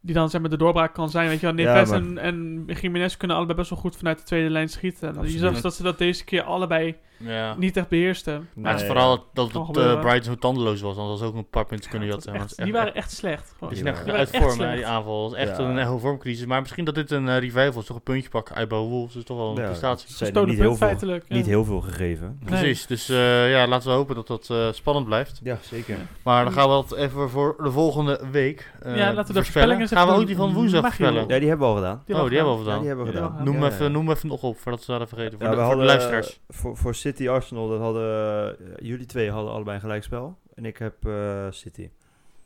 C: Die dan zeg maar de doorbraak kan zijn. Weet je wel,
B: Ja,
C: Neves
B: maar-
C: en, en Jiménez kunnen allebei best wel goed vanuit de tweede lijn schieten. En Je
B: Absoluut.
C: zag dat ze dat deze keer allebei
A: Ja.
C: niet echt beheersten.
A: Maar het is
B: Nee.
A: vooral dat
C: Kan
A: het,
C: gebeuren.
A: eh, Brighton zo tandeloos was. Anders had ze ook een paar punten kunnen
C: Ja,
A: jatten.
C: dat was
A: Want
C: echt-
A: het
C: die
A: is
C: waren echt slecht. gewoon.
A: Het is
B: Die
A: echt
B: waren
A: uit
C: echt
A: vorm, hè,
C: slecht.
A: die aanval. Het is echt
B: Ja.
A: een heel vormcrisis. Maar misschien dat dit een eh, revival is. Toch een puntje pakken uit bij Wolves. is toch wel een
B: Ja,
A: prestatie.
B: ze hebben
C: Gestolen
B: niet
C: punt
B: heel, veel,
C: feitelijk. ja.
B: niet
A: Oh,
B: heel veel gegeven.
C: Nee.
A: Precies, dus eh, ja, laten we hopen dat dat eh, spannend blijft.
B: Ja, zeker.
A: Maar dan gaan we dat even voor de volgende week
C: Ja, laten
A: eh,
C: we de
A: voorspellen.
C: voorspellingen
A: Gaan we
C: even
A: ook die van woensdag
C: magisch
A: voorspellen?
B: Ja, die hebben we al gedaan.
A: oh, die hebben we al
B: Ja,
A: gedaan.
B: die hebben we
C: Ja.
B: gedaan.
A: Noem,
B: Ja, ja.
A: Even, noem even nog op, voordat we dat vergeten. Voor,
B: Ja,
A: de,
B: we
A: voor de
B: hadden,
A: luisteraars.
B: eh, voor, voor City Arsenal dat hadden eh, jullie twee hadden allebei een gelijkspel en ik heb eh, City.
A: Nou,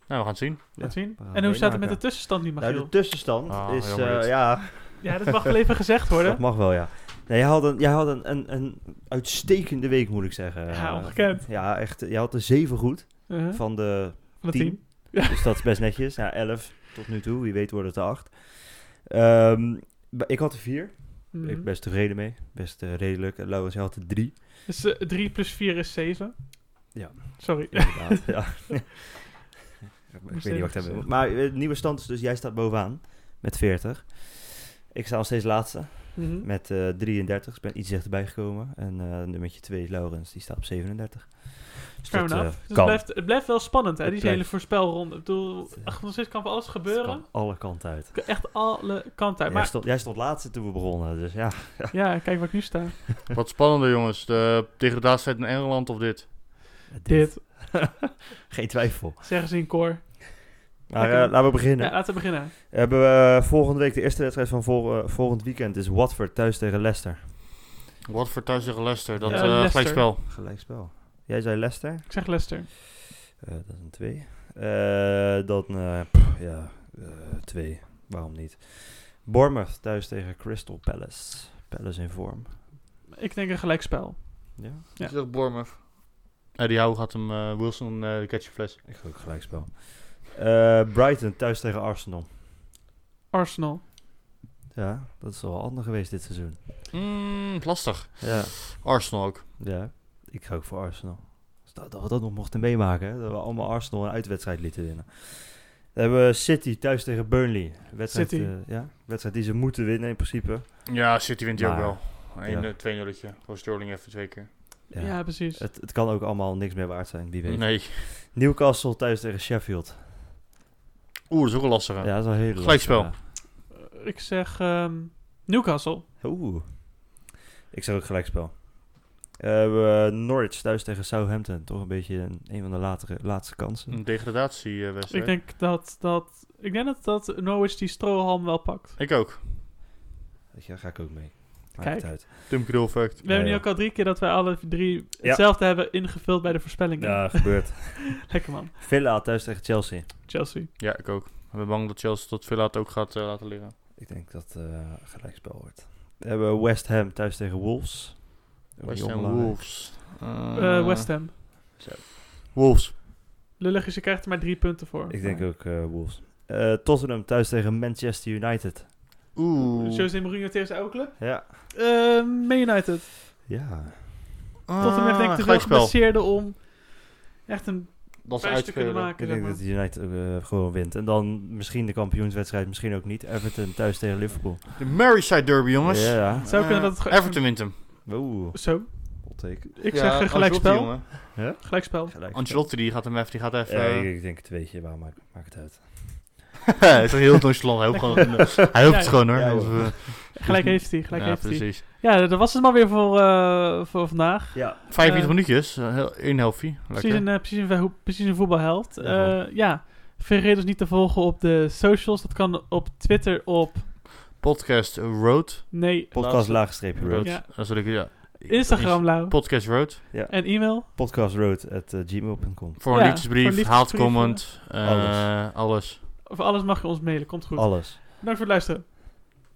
A: we gaan het zien.
C: Laat zien.
B: we gaan
C: En hoe
B: het
C: staat het met
B: meemaken.
C: de tussenstand nu,
B: Nou,
C: Michiel?
B: de tussenstand
A: Ah,
B: is,
A: jammer
B: eh,
A: dit.
B: ja,
C: Ja, dat mag wel even gezegd worden.
B: dat mag wel, ja. Nee, jij had, een, jij had een, een, een uitstekende week, moet ik zeggen.
C: Ja,
B: Eh,
C: ongekend.
B: Ja, echt. Jij had er zeven goed
C: Eh, van
B: van de
C: het
B: tien.
C: team.
B: Dus dat is best netjes. Ja, 11 tot nu toe. Wie weet worden het er 8. Ehm, b- ik had er 4.
C: Mhm.
B: Ik best tevreden mee. Best eh, redelijk. En Laurens, jij had er 3.
C: Dus 3 plus 4 is 7.
B: Ja.
C: Sorry.
B: Inderdaad. ja. ik weet niet wat ik
C: even
B: heb.
C: zeggen.
B: Maar eh, de nieuwe stand is dus: jij staat bovenaan met 40. Ik sta nog steeds laatste
C: Mhm.
B: met eh, 33. Ik ben iets dichterbij gekomen. En eh nummertje 2 is Laurens, die staat op 37. Dus
C: Fair
B: dat,
C: enough.
B: eh,
C: Dus het,
B: kan.
C: blijft, het blijft wel spannend, hè?
B: Het
C: Die
B: blijft-
C: hele voorspelronde. Ik bedoel,
B: Het, eh,
C: ach, nog steeds kan van alles
B: Het
C: gebeuren.
B: kan alle kanten uit.
C: Kan Echt alle kanten uit.
B: jij,
C: Maar
B: stond, jij stond laatste toen we begonnen. Dus ja,
C: ja, kijk waar ik nu sta.
A: Wat spannender, jongens. De degradatiestrijd in Engeland of dit?
C: Dit.
B: geen twijfel.
C: Zeggen ze in koor.
B: Maar
C: Oké.
B: eh, laten we
C: Ja,
B: beginnen.
C: laten we beginnen.
B: Hebben we eh, volgende week de eerste wedstrijd van vol- eh, volgend weekend is Watford thuis tegen Leicester.
A: Wat voor thuis tegen Leicester? Dat
C: Ja,
A: eh
C: Leicester.
A: gelijkspel.
B: Gelijkspel. Jij zei Leicester.
C: Ik zeg Leicester.
B: Eh, dat is een 2. dan, eh, pff, ja, 2. Waarom niet? Bournemouth thuis tegen Crystal Palace. Palace in vorm.
C: Ik denk een gelijkspel.
B: Ja,
C: Ja.
A: Ik zeg Bournemouth. Eddie Howe gaat hem, eh, Wilson, eh de catch fles.
B: ik geloof gelijkspel. Eh, Brighton thuis tegen Arsenal.
C: Arsenal.
B: Ja, dat is wel ander geweest dit seizoen.
A: Mm, lastig.
B: Ja,
A: Arsenal ook.
B: ja. ik ga ook voor Arsenal. Dus dat, dat we dat nog mochten meemaken, hè, dat we allemaal Arsenal een uitwedstrijd lieten winnen. Dan hebben we City thuis tegen Burnley. Wedstrijd,
C: City.
B: eh, ja, wedstrijd die ze moeten winnen in principe.
A: Ja, City wint die ook
B: Maar-
A: wel. Eén
B: Ja.
A: eh, 2-0'tje. Voor Sterling even twee keer.
C: Ja, precies.
B: Het, het kan ook allemaal niks meer waard zijn, wie weet.
A: Nee.
B: Newcastle thuis tegen Sheffield.
A: Oeh, dat is ook een lastige.
B: Ja, dat is wel heel
A: Gelijkspel.
C: Eh, Ik zeg ehm, Newcastle.
B: Oeh. Ik zeg ook gelijkspel. Eh, we Norwich thuis tegen Southampton. Toch een beetje een, een van de latere, laatste kansen.
A: Een
C: Ik
A: degradatiewedstrijd.
C: denk dat, dat, ik denk dat, dat Norwich die strohalm wel pakt.
A: Ik ook.
B: Weet je, daar ga ik ook mee. Maakt
C: Kijk.
B: het uit.
A: Tim Krul fact.
C: We hebben
B: ja.
C: nu ook al drie keer dat wij alle drie
B: Ja.
C: hetzelfde hebben ingevuld bij de voorspellingen.
B: Ja, gebeurt.
C: Lekker man.
B: Villa thuis tegen Chelsea.
C: Chelsea.
A: Ja, ik ook. Ik ben bang dat Chelsea tot Villa het ook gaat eh, laten liggen.
B: Ik denk dat eh gelijkspel wordt. We hebben West Ham thuis tegen Wolves. Ook niet
A: West Ham
B: onbelangrijk.
A: Wolves. Ah.
C: Eh, West Ham.
A: Wolves.
C: Lullig is, je krijgt er maar drie punten voor.
B: Ik denk ook eh, Wolves. Eh, Tottenham thuis tegen Manchester United.
A: Oeh.
C: Jose Mourinho tegen zijn oude club?
B: Ja.
C: Eh, Man United.
B: Ja.
C: Tottenham heeft
A: Ah,
C: denk ik te veel geblesseerden om echt een
A: Dat is
C: vuist te kunnen
A: uitspelen.
B: Ik
C: maken. Zeg
B: denk
C: maar.
B: dat United ook, eh, gewoon wint. En dan misschien de kampioenswedstrijd, misschien ook niet. Everton thuis tegen Liverpool.
A: De Merseyside derby, jongens.
B: Ja, ja.
C: Zou kunnen dat het
A: het
C: gewoon-
A: Everton wint hem.
B: Oeh.
C: Zo,
B: Hot take.
C: ik
A: Ja,
C: zeg eh,
A: Ancelotti,
C: gelijkspel.
A: jongen.
C: Gelijkspel.
B: Gelijk.
A: Ancelotti die gaat hem even... Die gaat even
B: Ja,
A: eh,
B: ik, ik denk het weetje, maar maakt maakt het uit.
A: Hij is heel nonchalant. Hij hoopt, gewoon, eh, hij hoopt het
C: Ja,
A: gewoon hoor.
B: ja,
A: Of,
B: joh.
A: eh,
C: Gelijk heeft hij, gelijk
A: ja,
C: heeft hij.
A: precies.
C: Ja, dat was het maar weer voor, eh, voor vandaag.
A: 45
C: Eh,
A: minuutjes. eh, heel- één helftje.
C: Precies
A: Lekker.
C: een, eh, precies, een, verho- precies een voetbalheld.
B: Ja,
C: Ja, ja, vergeet ons niet te volgen op de socials. Dat kan op Twitter op...
A: Podcast Road.
C: Nee,
B: Podcast
A: Laatste.
B: laagstreepje road.
C: Ja.
A: Dat is natuurlijk, ja.
C: Instagram, Lau.
A: Podcast Road.
C: En e-mail.
B: Podcastroad at eh, gmail.com.
A: Voor een
C: Ja, voor een
A: liefdesbrief,
C: liefdesbrief,
A: haatcomment, eh,
B: Alles.
A: alles.
C: Over alles mag je ons mailen. Komt goed.
B: Alles.
C: Bedankt voor het luisteren.